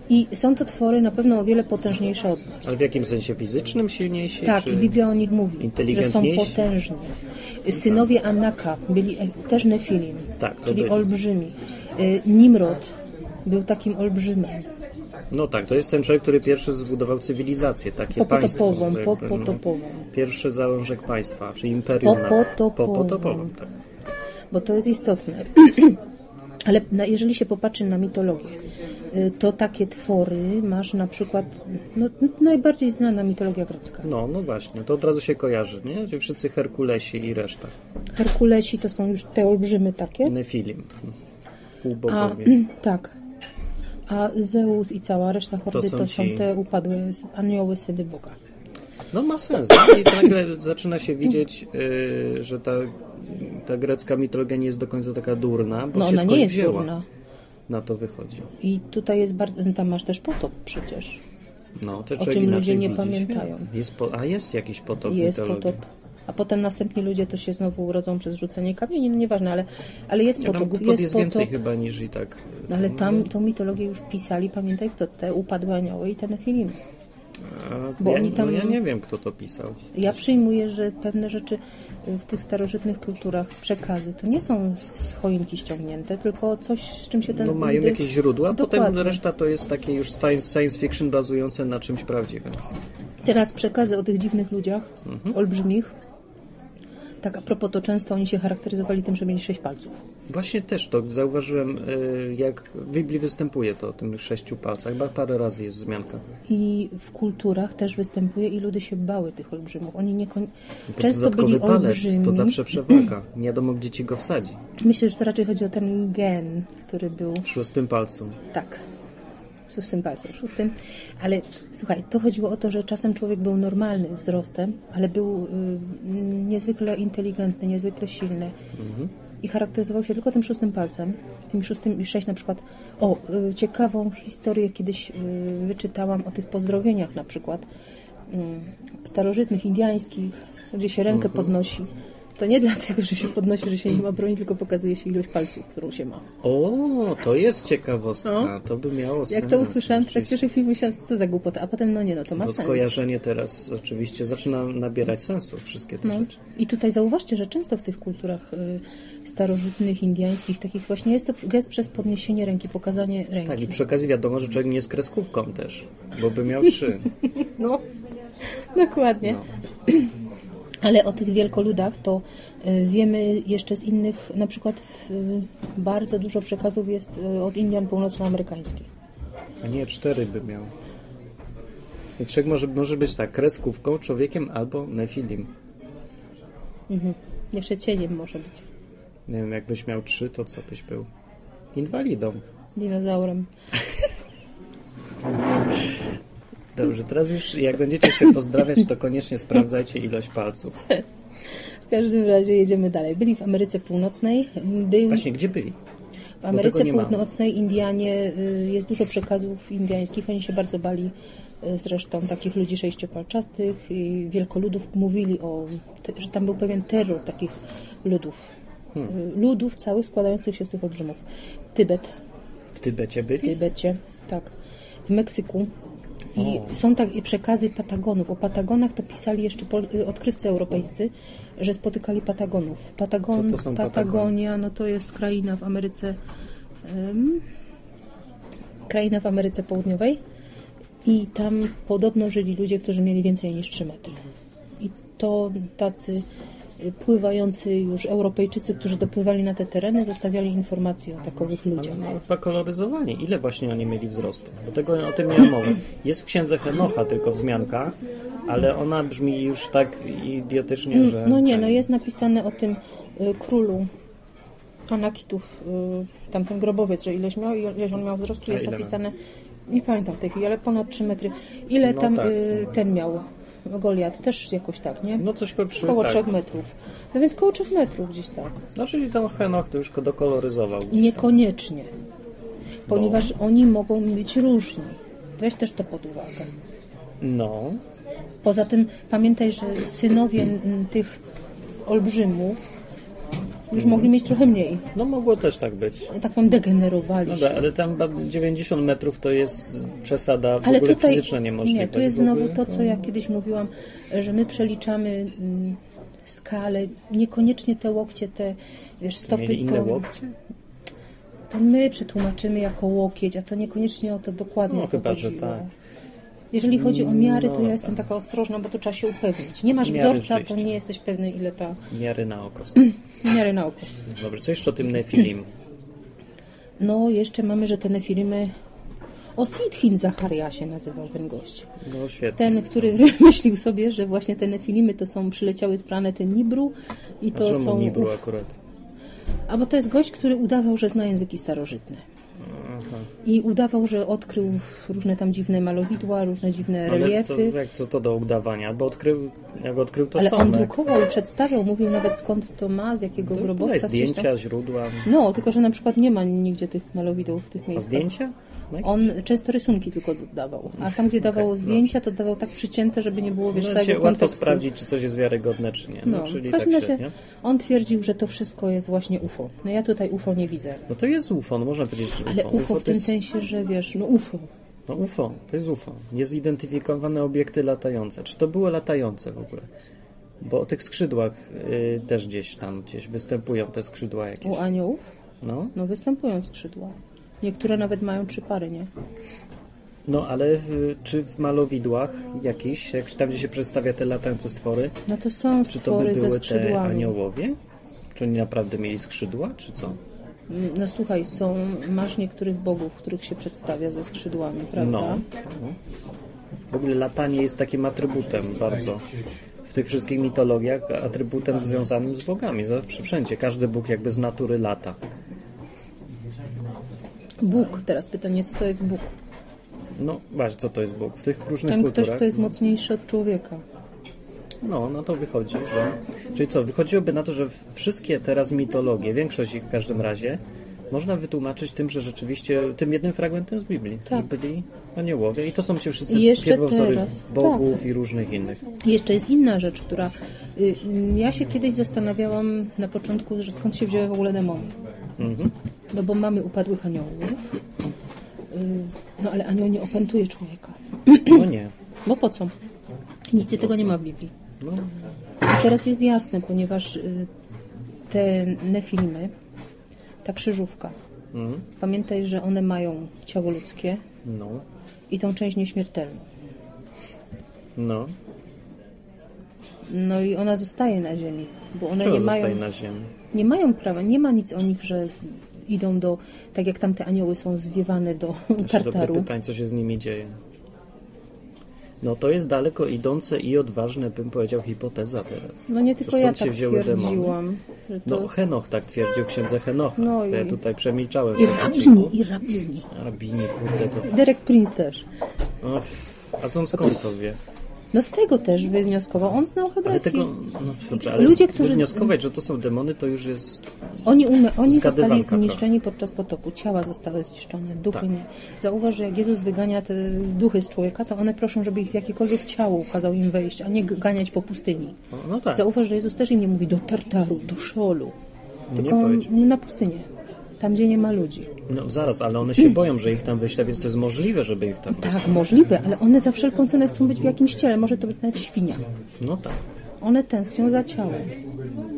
Speaker 2: I są to twory na pewno o wiele potężniejsze od nas.
Speaker 1: Ale w jakim sensie fizycznym silniejsi?
Speaker 2: Tak,
Speaker 1: czy...
Speaker 2: i Biblia o nich mówi, że są
Speaker 1: inteligentniejsi?
Speaker 2: potężni. Synowie Anaka byli e- też Nefilim,
Speaker 1: Tak, to
Speaker 2: czyli
Speaker 1: byli.
Speaker 2: olbrzymi. Y, Nimrod był takim olbrzymem.
Speaker 1: No tak, to jest ten człowiek, który pierwszy zbudował cywilizację, takie państwo.
Speaker 2: Popotopową,
Speaker 1: jakby,
Speaker 2: popotopową.
Speaker 1: tak, no, Pierwszy zalążek państwa, czy imperium. nawet.
Speaker 2: Popotopową.
Speaker 1: Popotopową, tak.
Speaker 2: bo to jest istotne. Ale na, jeżeli się popatrzy na mitologię, y, to takie twory masz na przykład, no, n- najbardziej znana mitologia grecka.
Speaker 1: No, no właśnie, to od razu się kojarzy, nie? Ci wszyscy Herkulesi i reszta.
Speaker 2: Herkulesi to są już te olbrzymy takie.
Speaker 1: Nefilim.
Speaker 2: A,
Speaker 1: Półbogowie.
Speaker 2: tak. A Zeus i cała reszta hordy
Speaker 1: są
Speaker 2: to są
Speaker 1: ci-
Speaker 2: te upadłe s- anioły, syny Boga.
Speaker 1: No ma sens. nie? I to nagle zaczyna się widzieć, y, że ta, ta grecka mitologia nie jest do końca taka durna, bo
Speaker 2: No
Speaker 1: się
Speaker 2: ona
Speaker 1: skądś
Speaker 2: nie jest
Speaker 1: wzięła.
Speaker 2: górna.
Speaker 1: Na to wychodzi.
Speaker 2: I tutaj jest bardzo, tam masz też potop przecież.
Speaker 1: No, te człowiek
Speaker 2: czym ludzie
Speaker 1: inaczej
Speaker 2: nie
Speaker 1: widzi świat.
Speaker 2: pamiętają.
Speaker 1: Jest po, a jest jakiś potop
Speaker 2: Jest
Speaker 1: mitologii.
Speaker 2: potop. a potem następni ludzie to się znowu urodzą przez rzucenie kamieni, no nieważne, ale, ale jest
Speaker 1: Ja tam
Speaker 2: potop.
Speaker 1: głupot jest,
Speaker 2: jest
Speaker 1: więcej
Speaker 2: potop,
Speaker 1: chyba niż i tak.
Speaker 2: no ale tam tą mitologię już pisali, pamiętaj kto, te upadłe anioły i te nefilimy.
Speaker 1: A,
Speaker 2: bo
Speaker 1: ja,
Speaker 2: oni tam-
Speaker 1: no, ja nie wiem, kto to pisał.
Speaker 2: Ja przyjmuję, że pewne rzeczy y, w tych starożytnych kulturach, przekazy, to nie są z choinki ściągnięte, tylko coś, z czym się ten...
Speaker 1: No mają
Speaker 2: ludy-
Speaker 1: jakieś źródła, potem
Speaker 2: Dokładnie.
Speaker 1: reszta to jest takie już sci- science fiction bazujące na czymś prawdziwym.
Speaker 2: Teraz przekazy o tych dziwnych ludziach,
Speaker 1: Mhm.
Speaker 2: olbrzymich, tak a propos to często oni się charakteryzowali tym, że mieli sześć palców.
Speaker 1: Właśnie też to zauważyłem, y, jak w Biblii występuje to o tym sześciu palcach. Chyba parę razy jest wzmianka.
Speaker 2: I w kulturach też występuje i ludy się bały tych olbrzymów. Oni nie koń...
Speaker 1: No To
Speaker 2: często
Speaker 1: dodatkowy
Speaker 2: byli
Speaker 1: palec
Speaker 2: olbrzymi.
Speaker 1: to zawsze przewaga. Nie wiadomo, gdzie ci go wsadzi.
Speaker 2: Myślę, że to raczej chodzi o ten gen, który był
Speaker 1: W szóstym palcu.
Speaker 2: Tak. W szóstym palcu, w szóstym. Ale słuchaj, to chodziło o to, że czasem człowiek był normalny wzrostem, ale był y, mm, niezwykle inteligentny, niezwykle silny. I charakteryzował się tylko tym szóstym palcem. Tym szóstym i sześć na przykład. O, y, ciekawą historię kiedyś y, wyczytałam o tych pozdrowieniach na przykład mm, starożytnych, indiańskich, gdzie się rękę podnosi. To nie dlatego, że się podnosi, że się nie ma broni, tylko pokazuje się ilość palców, którą się ma.
Speaker 1: O, to jest ciekawostka.
Speaker 2: No.
Speaker 1: To by miało sens.
Speaker 2: Jak to usłyszałem, to tak
Speaker 1: rzeczywiście.
Speaker 2: pierwszy film myślałem, co za głupota, a potem no nie, no to ma
Speaker 1: To
Speaker 2: sens.
Speaker 1: skojarzenie teraz oczywiście zaczyna nabierać sensu, wszystkie te
Speaker 2: No.
Speaker 1: rzeczy.
Speaker 2: I tutaj zauważcie, że często w tych kulturach y, starożytnych, indiańskich, takich właśnie jest to gest przez podniesienie ręki, pokazanie ręki.
Speaker 1: Tak, i przy okazji wiadomo, że człowiek nie jest kreskówką też, bo by miał trzy.
Speaker 2: No, dokładnie. Ale o tych wielkoludach to y, wiemy jeszcze z innych, na przykład w, y, bardzo dużo przekazów jest y, od Indian północnoamerykańskich.
Speaker 1: A nie, cztery by miał. I człowiek może, może być tak, kreskówką, człowiekiem albo nefilim.
Speaker 2: Jeszcze cieniem może być,
Speaker 1: Nie wiem, jakbyś miał trzy, to co byś był? Inwalidą.
Speaker 2: dinozaurem.
Speaker 1: Dobrze, teraz już jak będziecie się pozdrawiać, to koniecznie sprawdzajcie ilość palców.
Speaker 2: W każdym razie jedziemy dalej. Byli w Ameryce Północnej, był
Speaker 1: Właśnie, gdzie byli?
Speaker 2: W Ameryce
Speaker 1: No, tego nie mamy.
Speaker 2: Północnej Indianie, y, jest dużo przekazów indiańskich, oni się bardzo bali y, zresztą takich ludzi sześciopalczastych i wielkoludów mówili o, te- że tam był pewien terror takich ludów.
Speaker 1: Hmm.
Speaker 2: Y, Ludów całych składających się z tych olbrzymów. Tybet,
Speaker 1: W Tybecie
Speaker 2: w
Speaker 1: byli?
Speaker 2: Tybecie, tak, w Meksyku. I są tak i przekazy Patagonów. O Patagonach to pisali jeszcze pol, y, odkrywcy europejscy, że spotykali Patagonów. Patagon,
Speaker 1: Co to są
Speaker 2: Patagonia, no to jest kraina w Ameryce, ym, kraina w Ameryce Południowej i tam podobno żyli ludzie, którzy mieli więcej niż 3 metry. I to tacy y, pływający już Europejczycy, którzy dopływali na te tereny, zostawiali informacje o takowych ludziach.
Speaker 1: No, chyba kolorysowani. Ile właśnie oni mieli wzrostu? Do tego o tym miałem mowę. Jest w księdze Henocha tylko wzmianka, ale ona brzmi już tak idiotycznie, że... tak.
Speaker 2: No nie, no jest napisane o tym y, królu Anakitów, y, tamten grobowiec, że ileś miał, i ileś on miał wzrostu,
Speaker 1: A
Speaker 2: jest
Speaker 1: ile miał?
Speaker 2: napisane, nie pamiętam w tej chwili, ale ponad 3 metry. Ile
Speaker 1: No
Speaker 2: tam
Speaker 1: tak,
Speaker 2: y, ten miał? Goliat też jakoś tak, nie?
Speaker 1: No coś koło trzy,
Speaker 2: koło
Speaker 1: tak.
Speaker 2: 3 metrów. No więc koło 3 metrów gdzieś tak.
Speaker 1: No czyli ten Henoch to już go dokoloryzował.
Speaker 2: Niekoniecznie. Ponieważ
Speaker 1: No.
Speaker 2: oni mogą być różni. Weź też to pod uwagę.
Speaker 1: No,
Speaker 2: Poza tym pamiętaj, że synowie m, tych olbrzymów już mogli mieć trochę mniej.
Speaker 1: no mogło też tak być.
Speaker 2: Tak powiem, degenerowali
Speaker 1: No
Speaker 2: się.
Speaker 1: da, ale tam ba- 90 metrów to jest przesada w
Speaker 2: Ale
Speaker 1: ogóle
Speaker 2: tutaj,
Speaker 1: fizyczna niemożliwa.
Speaker 2: nie, tu jest
Speaker 1: W ogóle- no.
Speaker 2: znowu to, co ja kiedyś mówiłam, że my przeliczamy mm, skalę, niekoniecznie te łokcie, te wiesz, stopy,
Speaker 1: Mieli inne
Speaker 2: to,
Speaker 1: łokcie?
Speaker 2: to my przetłumaczymy jako łokieć, a to niekoniecznie o to dokładnie
Speaker 1: No,
Speaker 2: o to
Speaker 1: chyba, że
Speaker 2: chodziło.
Speaker 1: tak.
Speaker 2: Jeżeli chodzi o miary, to
Speaker 1: No,
Speaker 2: ja jestem taka ostrożna, bo to trzeba się upewnić. Nie masz
Speaker 1: Miary
Speaker 2: wzorca, to
Speaker 1: rzeczywiście.
Speaker 2: nie jesteś pewny, ile ta
Speaker 1: Miary na oko.
Speaker 2: Mm. miary na oko.
Speaker 1: Dobrze, co jeszcze o tym Nefilim?
Speaker 2: No, jeszcze mamy, że te nefilimy... O Sidhin Zacharia się nazywał ten gość.
Speaker 1: No świetnie.
Speaker 2: Ten, który wymyślił sobie, że właśnie te nefilimy to są przyleciały z planety Nibru i
Speaker 1: A
Speaker 2: to
Speaker 1: czemu
Speaker 2: są...
Speaker 1: nie było akurat?
Speaker 2: A bo to jest gość, który udawał, że zna języki starożytne. I udawał, że odkrył różne tam dziwne malowidła, różne dziwne
Speaker 1: Ale
Speaker 2: reliefy.
Speaker 1: to, jak co to do udawania? Bo odkrył, jak odkrył to
Speaker 2: Ale on
Speaker 1: same.
Speaker 2: drukował i przedstawiał, mówił nawet skąd to ma, z jakiego
Speaker 1: No,
Speaker 2: grobowca.
Speaker 1: Tutaj
Speaker 2: coś tam.
Speaker 1: zdjęcia, źródła.
Speaker 2: No, tylko że na przykład nie ma nigdzie tych malowidłów w tych
Speaker 1: A
Speaker 2: miejscach.
Speaker 1: zdjęcia? No i
Speaker 2: On często rysunki tylko dawał, a tam gdzie dawał zdjęcia, to dawał tak przycięte, żeby nie było wiesz,
Speaker 1: Możecie
Speaker 2: całego
Speaker 1: no. łatwo
Speaker 2: kontekstu.
Speaker 1: sprawdzić, czy coś jest wiarygodne, czy nie. No,
Speaker 2: No,
Speaker 1: czyli
Speaker 2: w
Speaker 1: tak
Speaker 2: każdym razie
Speaker 1: średnio.
Speaker 2: on twierdził, że to wszystko jest właśnie UFO. No ja tutaj UFO nie widzę.
Speaker 1: No to jest UFO, no można powiedzieć, że UFO.
Speaker 2: Ale UFO, w
Speaker 1: to
Speaker 2: tym
Speaker 1: jest,
Speaker 2: sensie, że wiesz, no UFO.
Speaker 1: no UFO, to jest UFO. Niezidentyfikowane obiekty latające. Czy to były latające w ogóle? Bo o tych skrzydłach y, też gdzieś tam, gdzieś występują te skrzydła
Speaker 2: U
Speaker 1: jakieś.
Speaker 2: aniołów?
Speaker 1: No,
Speaker 2: No występują skrzydła. Niektóre nawet mają trzy pary, nie?
Speaker 1: no ale w, czy w malowidłach jakichś, jak tam gdzie się przedstawia te latające stwory,
Speaker 2: No to są
Speaker 1: czy to by
Speaker 2: stwory ze
Speaker 1: były te
Speaker 2: skrzydłami.
Speaker 1: aniołowie? Czy oni naprawdę mieli skrzydła, czy co?
Speaker 2: Mm, No słuchaj, są, masz niektórych bogów, których się przedstawia ze skrzydłami, prawda?
Speaker 1: No. no. W ogóle latanie jest takim atrybutem bardzo w tych wszystkich mitologiach, atrybutem związanym z bogami. Zawsze wszędzie. Każdy bóg jakby z natury lata.
Speaker 2: Bóg, teraz pytanie, co to jest Bóg?
Speaker 1: No właśnie, co to jest Bóg? W tych różnych
Speaker 2: Ten ktoś,
Speaker 1: kulturach.
Speaker 2: kto jest mocniejszy od człowieka.
Speaker 1: No, no to wychodzi, że... Czyli co, wychodziłoby na to, że w- wszystkie teraz mitologie, większość ich w każdym razie, można wytłumaczyć tym, że rzeczywiście tym jednym fragmentem z Biblii, że
Speaker 2: Tak.
Speaker 1: byli aniołowie i to są ci wszyscy
Speaker 2: I jeszcze
Speaker 1: pierwowzory
Speaker 2: teraz. Tak.
Speaker 1: bogów i różnych innych.
Speaker 2: Jeszcze jest inna rzecz, która... y, y, Ja się kiedyś zastanawiałam na początku, że skąd się wzięły w ogóle demony.
Speaker 1: Mhm.
Speaker 2: No bo mamy upadłych aniołów, y, no ale anioł nie opętuje człowieka.
Speaker 1: No nie.
Speaker 2: Bo po co? Nigdzie tego nie ma w Biblii.
Speaker 1: No,
Speaker 2: I Teraz jest jasne, ponieważ y, te nefilimy, ta krzyżówka,
Speaker 1: Mhm.
Speaker 2: pamiętaj, że one mają ciało ludzkie
Speaker 1: no,
Speaker 2: i tą część nieśmiertelną.
Speaker 1: no.
Speaker 2: No i ona zostaje na ziemi, bo one
Speaker 1: Czego
Speaker 2: nie No mają,
Speaker 1: zostaje na ziemi?
Speaker 2: nie mają prawa, nie ma nic o nich, że idą do, tak jak tamte anioły są zwiewane do
Speaker 1: Się Znaczy, dobre
Speaker 2: Tartaru.
Speaker 1: pytań, co się z nimi dzieje. No to jest daleko idące i odważne, bym powiedział, hipoteza teraz.
Speaker 2: No nie tylko
Speaker 1: Skąd
Speaker 2: ja
Speaker 1: się
Speaker 2: tak
Speaker 1: wzięły demony?
Speaker 2: twierdziłam, że to...
Speaker 1: No Henoch tak twierdził, księdze Henocha.
Speaker 2: No
Speaker 1: to ja
Speaker 2: i-
Speaker 1: tutaj przemilczałem.
Speaker 2: I
Speaker 1: sobie.
Speaker 2: rabini, i rabini.
Speaker 1: Rabini, kurde to...
Speaker 2: Derek Prince też.
Speaker 1: No, pff, a co on skąd to wie?
Speaker 2: No z tego też wnioskował. On znał
Speaker 1: Ale
Speaker 2: hebrajski.
Speaker 1: tego... No, dobrze, ale
Speaker 2: Ludzie,
Speaker 1: Ludzie,
Speaker 2: którzy-
Speaker 1: którzy... wnioskować, że to są demony, to już jest...
Speaker 2: Oni, ume, oni zostali
Speaker 1: Zgadywanka
Speaker 2: zniszczeni podczas potopu. Ciała zostały zniszczone, duchy
Speaker 1: Tak.
Speaker 2: nie. Zauważ, że jak Jezus wygania te duchy z człowieka, to one proszą, żeby ich w jakiekolwiek ciało ukazał im wejść, a nie g- ganiać po pustyni.
Speaker 1: No, no tak,
Speaker 2: Zauważ, że Jezus też im nie mówi do Tartaru, do Szolu,
Speaker 1: nie
Speaker 2: tylko
Speaker 1: powiedział.
Speaker 2: na pustynię, tam gdzie nie ma ludzi.
Speaker 1: No zaraz, ale one się boją, że ich tam wyśle, więc to jest możliwe, żeby ich tam...
Speaker 2: Tak, możliwe, ale one za wszelką cenę chcą być w jakimś ciele, może to być nawet świnia.
Speaker 1: No tak.
Speaker 2: One tęsknią za ciałem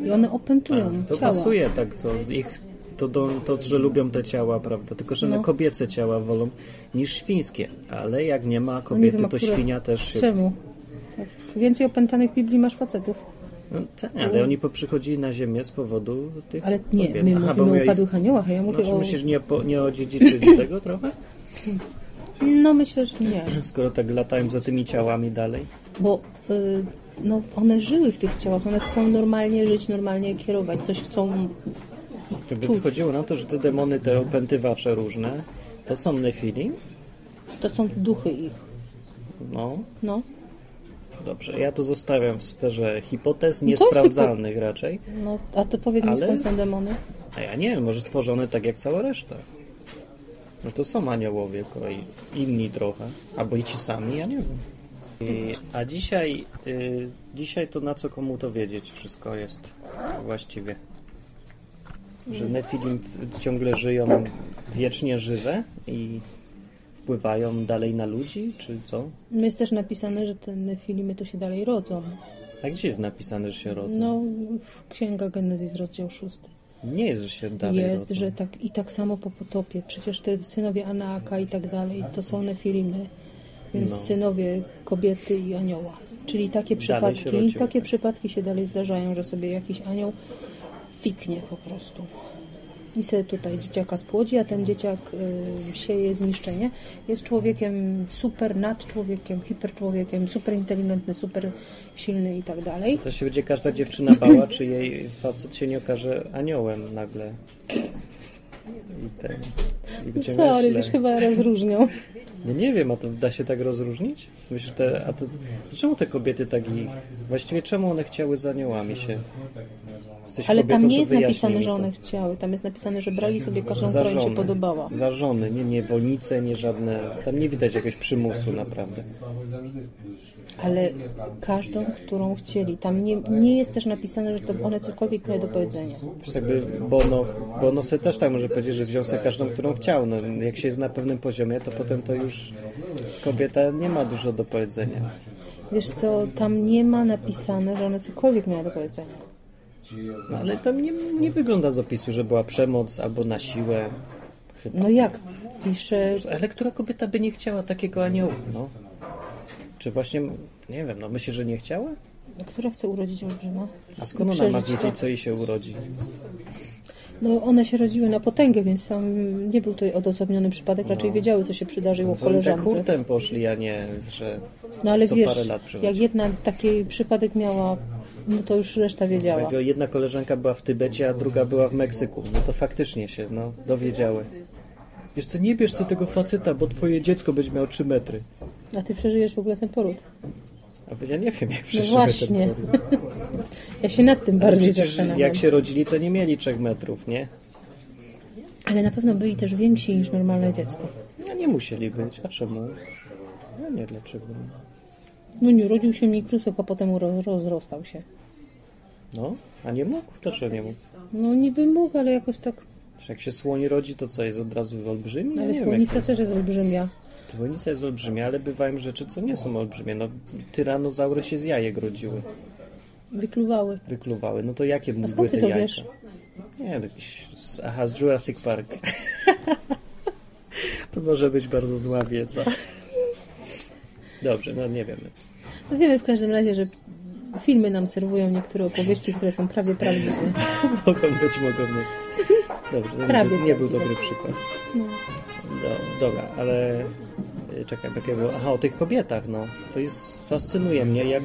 Speaker 2: i one opętują
Speaker 1: To
Speaker 2: ciała.
Speaker 1: pasuje tak, to ich to, do, to, że lubią te ciała, prawda? Tylko, że
Speaker 2: No.
Speaker 1: na kobiece ciała wolą niż świńskie. Ale jak nie ma
Speaker 2: No Nie
Speaker 1: kobiety,
Speaker 2: wiem,
Speaker 1: to
Speaker 2: akurat
Speaker 1: świnia też się...
Speaker 2: Czemu? Tak, Więcej opętanych w Biblii masz facetów.
Speaker 1: No, tak, ale oni poprzychodzili na ziemię z powodu tych
Speaker 2: Ale nie,
Speaker 1: kobiet.
Speaker 2: my
Speaker 1: Aha, bo
Speaker 2: mówimy o
Speaker 1: mieli-
Speaker 2: upadłych aniołach, a ja mówię
Speaker 1: No, czy
Speaker 2: o...
Speaker 1: myślisz, nie, po, nie odziedziczyli tego trochę?
Speaker 2: No myślę, że nie,
Speaker 1: Skoro tak latają za tymi ciałami dalej.
Speaker 2: bo y, no, one żyły w tych ciałach, one chcą normalnie żyć, normalnie kierować, coś chcą...
Speaker 1: To by wychodziło na to, że te demony, te opętywacze różne, to są nefili?
Speaker 2: To są duchy ich,
Speaker 1: No,
Speaker 2: no.
Speaker 1: dobrze. Ja to zostawiam w sferze hipotez
Speaker 2: No to jest
Speaker 1: niesprawdzalnych raczej.
Speaker 2: no a to powiedz mi,
Speaker 1: Ale-
Speaker 2: skąd są demony?
Speaker 1: A ja nie wiem, może stworzone tak jak cała reszta. Może to są aniołowie, tylko i- inni trochę. Albo i ci sami, ja nie wiem. I, a dzisiaj, y, dzisiaj to na co komu to wiedzieć wszystko jest właściwie. Że Nefilim t- ciągle żyją wiecznie żywe i wpływają dalej na ludzi, czy co?
Speaker 2: No Jest też napisane, że te nefilimy to się dalej rodzą.
Speaker 1: A gdzie jest napisane, że się rodzą?
Speaker 2: No, w Księga Genezis, rozdział szósty.
Speaker 1: Nie jest, że się dalej no
Speaker 2: Jest,
Speaker 1: rodzą.
Speaker 2: że tak i tak samo po potopie. Przecież te synowie Anaaka i tak dalej, to są nefilimy, więc
Speaker 1: No.
Speaker 2: synowie kobiety i anioła. Czyli takie
Speaker 1: Dalej się
Speaker 2: przypadki,
Speaker 1: rodziły,
Speaker 2: takie
Speaker 1: tak.
Speaker 2: przypadki się dalej zdarzają, że sobie jakiś anioł fiknie po prostu. I sobie tutaj dzieciaka spłodzi, a ten dzieciak y, sieje zniszczenie. Jest człowiekiem super, nad człowiekiem, hiperczłowiekiem, super inteligentny, super silny i tak dalej.
Speaker 1: To się będzie każda dziewczyna bała, czy jej facet się nie okaże aniołem nagle. I ten. I będzie
Speaker 2: Sorry,
Speaker 1: myślę.
Speaker 2: już chyba rozróżnią.
Speaker 1: No nie wiem, a to da się tak rozróżnić? Myślę, te, a to, to czemu te kobiety tak ich... Właściwie czemu one chciały za aniołami się... Jesteś
Speaker 2: Ale
Speaker 1: kobietą,
Speaker 2: tam nie
Speaker 1: to
Speaker 2: jest
Speaker 1: wyjaśnij
Speaker 2: napisane,
Speaker 1: mi
Speaker 2: że
Speaker 1: to. Mhm.
Speaker 2: one chciały. Tam jest napisane, że brali sobie każdą,
Speaker 1: Za
Speaker 2: która im się
Speaker 1: żony.
Speaker 2: podobała.
Speaker 1: Za żony, nie niewolnice, nie żadne... Tam nie widać jakiegoś przymusu naprawdę.
Speaker 2: Ale każdą, którą chcieli. Tam nie, nie jest też napisane, że to one cokolwiek miały do powiedzenia.
Speaker 1: Przecież jakby Bono, Bono se też tak może powiedzieć, że wziął sobie każdą, którą chciał. No, jak się jest na pewnym poziomie, to potem to już kobieta nie ma dużo do powiedzenia.
Speaker 2: Wiesz co, tam nie ma napisane, że one cokolwiek miały do powiedzenia.
Speaker 1: No, ale tam nie, nie wygląda z opisu, że była przemoc albo na siłę. Chyba.
Speaker 2: No jak? Pisze,
Speaker 1: Ale która kobieta by nie chciała takiego anioła? No? Czy właśnie, nie wiem, no myślę, że nie chciała?
Speaker 2: która chce urodzić olbrzyma.
Speaker 1: A skąd ona ma wiedzieć, co jej się urodzi?
Speaker 2: No one się rodziły na potęgę, więc tam nie był to odosobniony przypadek.
Speaker 1: No.
Speaker 2: Raczej wiedziały, co się przydarzyło
Speaker 1: To oni tak
Speaker 2: koleżance.
Speaker 1: hurtem poszli, a nie, że...
Speaker 2: No ale
Speaker 1: co parę
Speaker 2: wiesz,
Speaker 1: lat przychodzi.
Speaker 2: jak jedna taki przypadek miała, no to już reszta wiedziała.
Speaker 1: Jakby Jedna koleżanka była w Tybecie, a druga była w Meksyku. No to faktycznie się no, dowiedziały. Wiesz co, nie bierz sobie tego faceta, bo twoje dziecko będzie miało 3 metry.
Speaker 2: A ty przeżyjesz w ogóle ten poród.
Speaker 1: A ja nie wiem, jak
Speaker 2: No
Speaker 1: przeżyły
Speaker 2: właśnie.
Speaker 1: ten poród.
Speaker 2: Ja się nad tym bardziej
Speaker 1: Przecież
Speaker 2: zastanawiam.
Speaker 1: jak się rodzili, to nie mieli 3 metrów, nie?
Speaker 2: Ale na pewno byli też więksi niż normalne dziecko.
Speaker 1: No nie musieli być. A czemu? No nie, dlaczego? nie?
Speaker 2: No nie, urodził się mikrusek, a potem ro- rozrostał się.
Speaker 1: No, a nie mógł? Dlaczego nie mógł?
Speaker 2: No niby mógł, ale jakoś tak...
Speaker 1: Przecież jak się słoń rodzi, to co, jest od razu olbrzymi? No
Speaker 2: Ale
Speaker 1: nie wiem, jak
Speaker 2: słonica też jest olbrzymia.
Speaker 1: Dzwonica jest olbrzymia, ale bywają rzeczy, co nie są olbrzymie. No, tyranozaury się z jajek rodziły.
Speaker 2: Wykluwały.
Speaker 1: wykluwały. No to jakie mu były
Speaker 2: skąd
Speaker 1: te
Speaker 2: ty to
Speaker 1: jajka?
Speaker 2: wiesz?
Speaker 1: Nie wiem, jakiś... z- Aha, z Jurassic Park. to może być bardzo zła wiedza. Dobrze, no nie wiemy.
Speaker 2: No wiemy w każdym razie, że filmy nam serwują niektóre opowieści, które są prawie prawdziwe.
Speaker 1: Mogą być, mogą być. Dobrze, to nie,
Speaker 2: Prawie
Speaker 1: był- nie był
Speaker 2: prawdziwe.
Speaker 1: dobry przykład. No, dobra, ale y, czekaj, jakie było? Aha, o tych kobietach, no. To jest, fascynuje mnie, jak,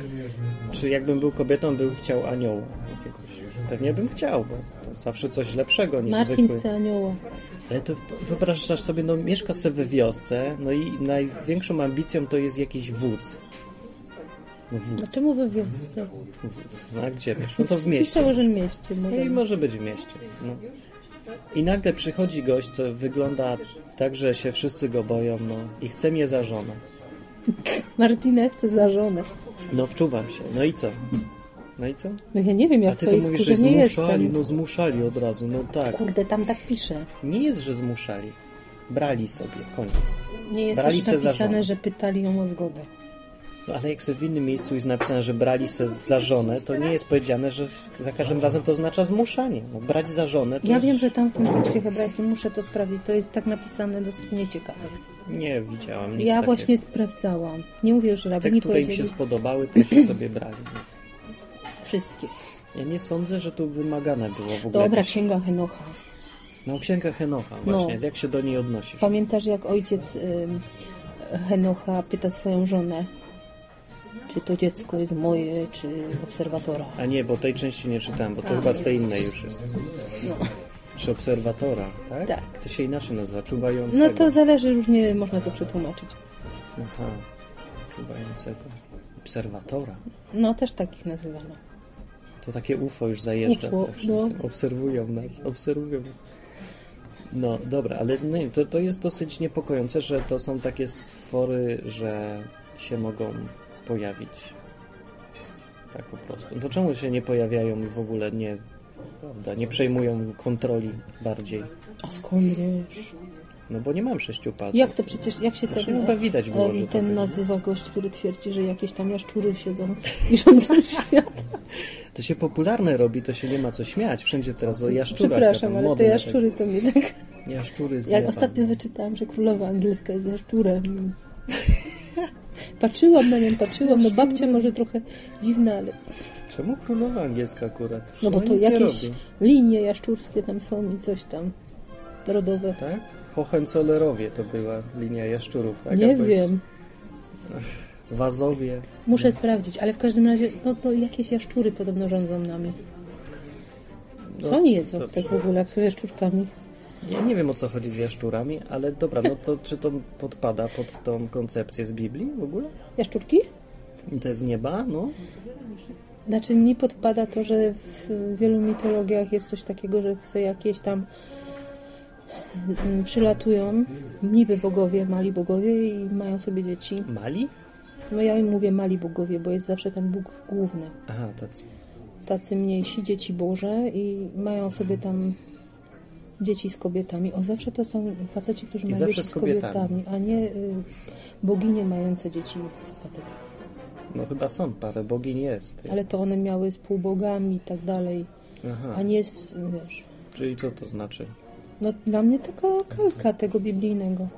Speaker 1: czy jakbym był kobietą, bym chciał anioła jakiegoś. Pewnie bym chciał, bo to zawsze coś lepszego niż
Speaker 2: Martin
Speaker 1: zwykły.
Speaker 2: chce anioła.
Speaker 1: Ale to wyobrażasz sobie, no mieszka sobie we wiosce, no i największą ambicją to jest jakiś wódz. No wódz,
Speaker 2: A czemu we wiosce?
Speaker 1: wódz. No a gdzie wiesz? No to w mieście.
Speaker 2: Pisało, że w mieście.
Speaker 1: No i
Speaker 2: Mówię.
Speaker 1: może być w mieście. No. I nagle przychodzi gość, co wygląda tak, że się wszyscy go boją, no i chce mnie za żonę.
Speaker 2: Martina chce za żonę.
Speaker 1: No wczuwam się, no i co? No i co?
Speaker 2: No ja nie wiem,
Speaker 1: A
Speaker 2: jak
Speaker 1: ty
Speaker 2: to
Speaker 1: to
Speaker 2: jest,
Speaker 1: mówisz,
Speaker 2: skórze
Speaker 1: że
Speaker 2: nie
Speaker 1: zmuszali,
Speaker 2: jestem.
Speaker 1: no zmuszali od razu, no tak.
Speaker 2: Kurde, tam tak pisze.
Speaker 1: Nie jest, że zmuszali. Brali sobie, koniec.
Speaker 2: Nie jest
Speaker 1: Brali
Speaker 2: też
Speaker 1: se za żonę.
Speaker 2: napisane, że pytali ją o zgodę.
Speaker 1: No ale jak sobie w innym miejscu jest napisane, że brali se za żonę, to nie jest powiedziane, że za każdym razem to oznacza zmuszanie. No, brać za żonę to
Speaker 2: Ja
Speaker 1: jest...
Speaker 2: wiem, że tam w tym tekście hebrajskim muszę to sprawdzić. To jest tak napisane dosyć nieciekawe.
Speaker 1: Nie widziałem nic
Speaker 2: Ja
Speaker 1: takiego.
Speaker 2: właśnie sprawdzałam. Nie mówię, że
Speaker 1: Te,
Speaker 2: rabini
Speaker 1: które im się
Speaker 2: powiedzieli
Speaker 1: spodobały, to się sobie brali.
Speaker 2: wszystkie.
Speaker 1: Ja nie sądzę, że tu wymagane było w ogóle
Speaker 2: Dobra,
Speaker 1: jakieś...
Speaker 2: księga Henocha.
Speaker 1: No księga Henocha właśnie,
Speaker 2: No.
Speaker 1: jak się do niej odnosisz?
Speaker 2: Pamiętasz, jak ojciec ym, Henocha pyta swoją żonę, czy to dziecko jest moje, czy obserwatora?
Speaker 1: A nie, bo tej części nie czytałem, bo to
Speaker 2: A,
Speaker 1: chyba z
Speaker 2: nie.
Speaker 1: tej innej już jest.
Speaker 2: No.
Speaker 1: Czy obserwatora, tak?
Speaker 2: Tak.
Speaker 1: To się inaczej nazywa, czuwającego.
Speaker 2: no to zależy, różnie można to przetłumaczyć.
Speaker 1: Aha, czuwającego. Obserwatora.
Speaker 2: No, też takich nazywano.
Speaker 1: To takie UFO już zajeżdża.
Speaker 2: UFO,
Speaker 1: zawsze.
Speaker 2: no.
Speaker 1: Obserwują nas, obserwują nas. No dobra, ale no, i to, to jest dosyć niepokojące, że to są takie stwory, że się mogą pojawić. Tak po prostu. To czemu się nie pojawiają i w ogóle nie, prawda, nie przejmują kontroli bardziej?
Speaker 2: A skąd wiesz?
Speaker 1: No bo nie mam sześciu palców.
Speaker 2: Jak to przecież, jak się
Speaker 1: Zresztą
Speaker 2: ten,
Speaker 1: chyba widać było,
Speaker 2: em,
Speaker 1: że to tak-
Speaker 2: ten
Speaker 1: było.
Speaker 2: nazywa gość, który twierdzi, że jakieś tam jaszczury siedzą i rządzą świat?
Speaker 1: To się popularne robi, to się nie ma co śmiać. Wszędzie teraz o jaszczurach.
Speaker 2: Przepraszam,
Speaker 1: gadam,
Speaker 2: ale
Speaker 1: mody
Speaker 2: te
Speaker 1: na
Speaker 2: jaszczury to mnie tak...
Speaker 1: takie- Jaszczury z
Speaker 2: Jak
Speaker 1: nieba.
Speaker 2: ostatnio wyczytałam, że królowa angielska jest jaszczurem. Patrzyłam na nią, patrzyłam, no babcia może trochę dziwna, ale
Speaker 1: Czemu królowa angielska akurat?
Speaker 2: no bo
Speaker 1: Ona
Speaker 2: to
Speaker 1: nic nie
Speaker 2: jakieś
Speaker 1: robi.
Speaker 2: linie jaszczurskie tam są i coś tam rodowe.
Speaker 1: Tak? Hohenzollerowie to była linia jaszczurów, tak?
Speaker 2: Nie
Speaker 1: Albo jest
Speaker 2: wiem,
Speaker 1: Wazowie.
Speaker 2: muszę sprawdzić, ale w każdym razie, no to jakieś jaszczury podobno rządzą nami. Co
Speaker 1: No,
Speaker 2: oni jedzą
Speaker 1: dobrze.
Speaker 2: tak w ogóle, jak są jaszczurkami?
Speaker 1: Ja nie wiem o co chodzi z jaszczurami, ale dobra, no to czy to podpada pod tą koncepcję z Biblii w ogóle?
Speaker 2: Jaszczurki?
Speaker 1: I To jest nieba, no?
Speaker 2: Znaczy mi podpada to, że w wielu mitologiach jest coś takiego, że chce jakieś tam mm, przylatują niby bogowie, mali bogowie i mają sobie dzieci.
Speaker 1: Mali?
Speaker 2: No ja im mówię mali bogowie, bo jest zawsze ten Bóg główny.
Speaker 1: Aha, tacy.
Speaker 2: Tacy mniejsi dzieci Boże i mają sobie tam dzieci z kobietami. O, zawsze to są faceci, którzy
Speaker 1: I
Speaker 2: mają
Speaker 1: zawsze
Speaker 2: dzieci
Speaker 1: z
Speaker 2: z
Speaker 1: kobietami.
Speaker 2: kobietami, a nie y, boginie mające dzieci z facetami.
Speaker 1: No chyba są parę, bogiń jest.
Speaker 2: Ale to one miały z półbogami i tak dalej,
Speaker 1: Aha,
Speaker 2: a nie z, wiesz...
Speaker 1: czyli co to znaczy?
Speaker 2: No dla mnie taka kalka tego biblijnego
Speaker 1: No,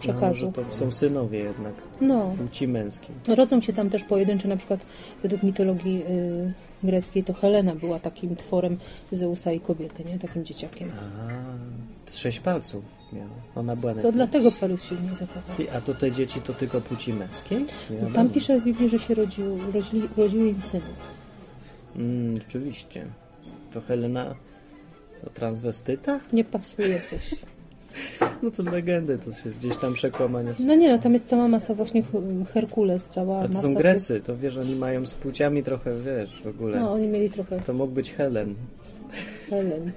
Speaker 2: przekazu.
Speaker 1: może to są synowie jednak,
Speaker 2: No,
Speaker 1: płci męskiej.
Speaker 2: rodzą się tam też pojedyncze, na przykład według mitologii y, greckiej to Helena była takim tworem Zeusa i kobiety, nie? Takim dzieciakiem.
Speaker 1: A, sześć palców miała. Ona była
Speaker 2: To
Speaker 1: na...
Speaker 2: dlatego Parys się nie zakochał.
Speaker 1: Ty, a to te dzieci to tylko płci męskiej? Nie
Speaker 2: No Tam
Speaker 1: wiadomo.
Speaker 2: pisze w Biblii, że się rodził, rodzili, rodziły im synów.
Speaker 1: Mm, rzeczywiście. To Helena... To transwestyta?
Speaker 2: Nie pasuje coś.
Speaker 1: No to legendy, to się gdzieś tam przekłamanie.
Speaker 2: No nie no, tam jest cała masa właśnie H- Herkules, cała
Speaker 1: A to
Speaker 2: masa.
Speaker 1: są
Speaker 2: tych-
Speaker 1: Grecy, to wiesz, oni mają z płciami trochę, wiesz, w ogóle.
Speaker 2: No, oni mieli trochę
Speaker 1: To mógł być Helen.
Speaker 2: Helen.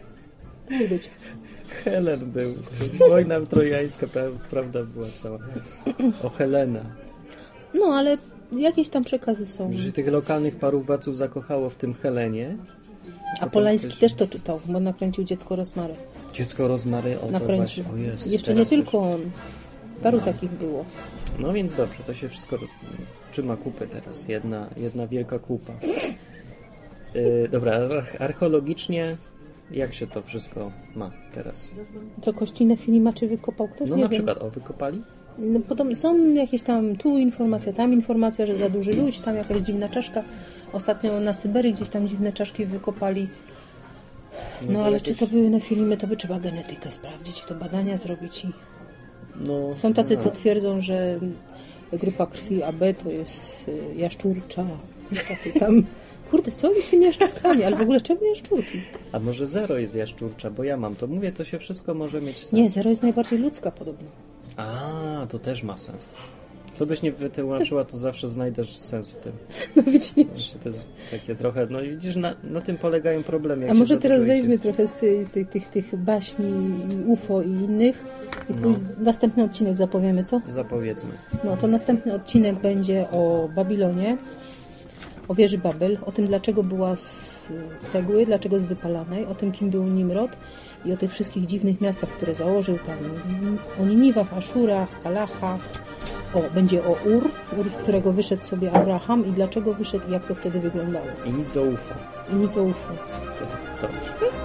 Speaker 2: Mógł być.
Speaker 1: Helen był. Wojna trojańska, pra- prawda była cała. O Helena.
Speaker 2: No, ale jakieś tam przekazy są.
Speaker 1: Że się tych lokalnych paru waców zakochało w tym Helenie.
Speaker 2: A Polański też to czytał, bo nakręcił dziecko rozmary.
Speaker 1: Dziecko rozmary, o No to
Speaker 2: Nakręcił.
Speaker 1: właśnie, o jest.
Speaker 2: Jeszcze nie
Speaker 1: teraz już-
Speaker 2: tylko on. Paru takich było.
Speaker 1: No więc dobrze, to się wszystko trzyma kupy teraz. Jedna, jedna wielka kupa. Yy, dobra, arch- archeologicznie jak się to wszystko ma teraz?
Speaker 2: Co Kościnę Filimaczy wykopał ktoś?
Speaker 1: No
Speaker 2: No nie
Speaker 1: na
Speaker 2: wiem.
Speaker 1: przykład, o, wykopali?
Speaker 2: No, podobno są jakieś tam tu informacja, tam informacja, że za duży ludź, tam jakaś dziwna czaszka. Ostatnio na Syberii gdzieś tam dziwne czaszki wykopali. No,
Speaker 1: to
Speaker 2: ale
Speaker 1: jakieś-
Speaker 2: czy to były na filmy, to by trzeba genetykę sprawdzić, to badania zrobić. I
Speaker 1: No,
Speaker 2: są tacy,
Speaker 1: no.
Speaker 2: co twierdzą, że grupa krwi AB to jest y, jaszczurcza. I Takie tam. Kurde, co oni z tymi jaszczurkami? Ale w ogóle czemu jaszczurki?
Speaker 1: A może zero jest jaszczurcza, bo ja mam to. Mówię, to się wszystko może mieć sens.
Speaker 2: Nie, zero jest najbardziej ludzka podobno.
Speaker 1: A, to też ma sens. Co byś nie wytłumaczyła, to zawsze znajdziesz sens w tym.
Speaker 2: No widzisz.
Speaker 1: Znaczy, to jest takie trochę, no i widzisz, na, na tym polegają problemy. jak
Speaker 2: A
Speaker 1: się
Speaker 2: może
Speaker 1: za
Speaker 2: teraz
Speaker 1: dużo ich-
Speaker 2: zejdźmy trochę z tych, tych, tych, tych baśni i UFO i innych. I później następny odcinek zapowiemy, co?
Speaker 1: Zapowiedzmy.
Speaker 2: No to następny odcinek będzie o Babilonie, o wieży Babel, o tym dlaczego była z cegły, dlaczego z wypalanej, o tym kim był Nimrod i o tych wszystkich dziwnych miastach, które założył tam, o Niniwach, Aszurach, Kalachach. O, będzie o Ur, Ur, z którego wyszedł sobie Abraham i dlaczego wyszedł i jak to wtedy wyglądało.
Speaker 1: I nic o UFO.
Speaker 2: I nic o UFO.
Speaker 1: To, dobrze.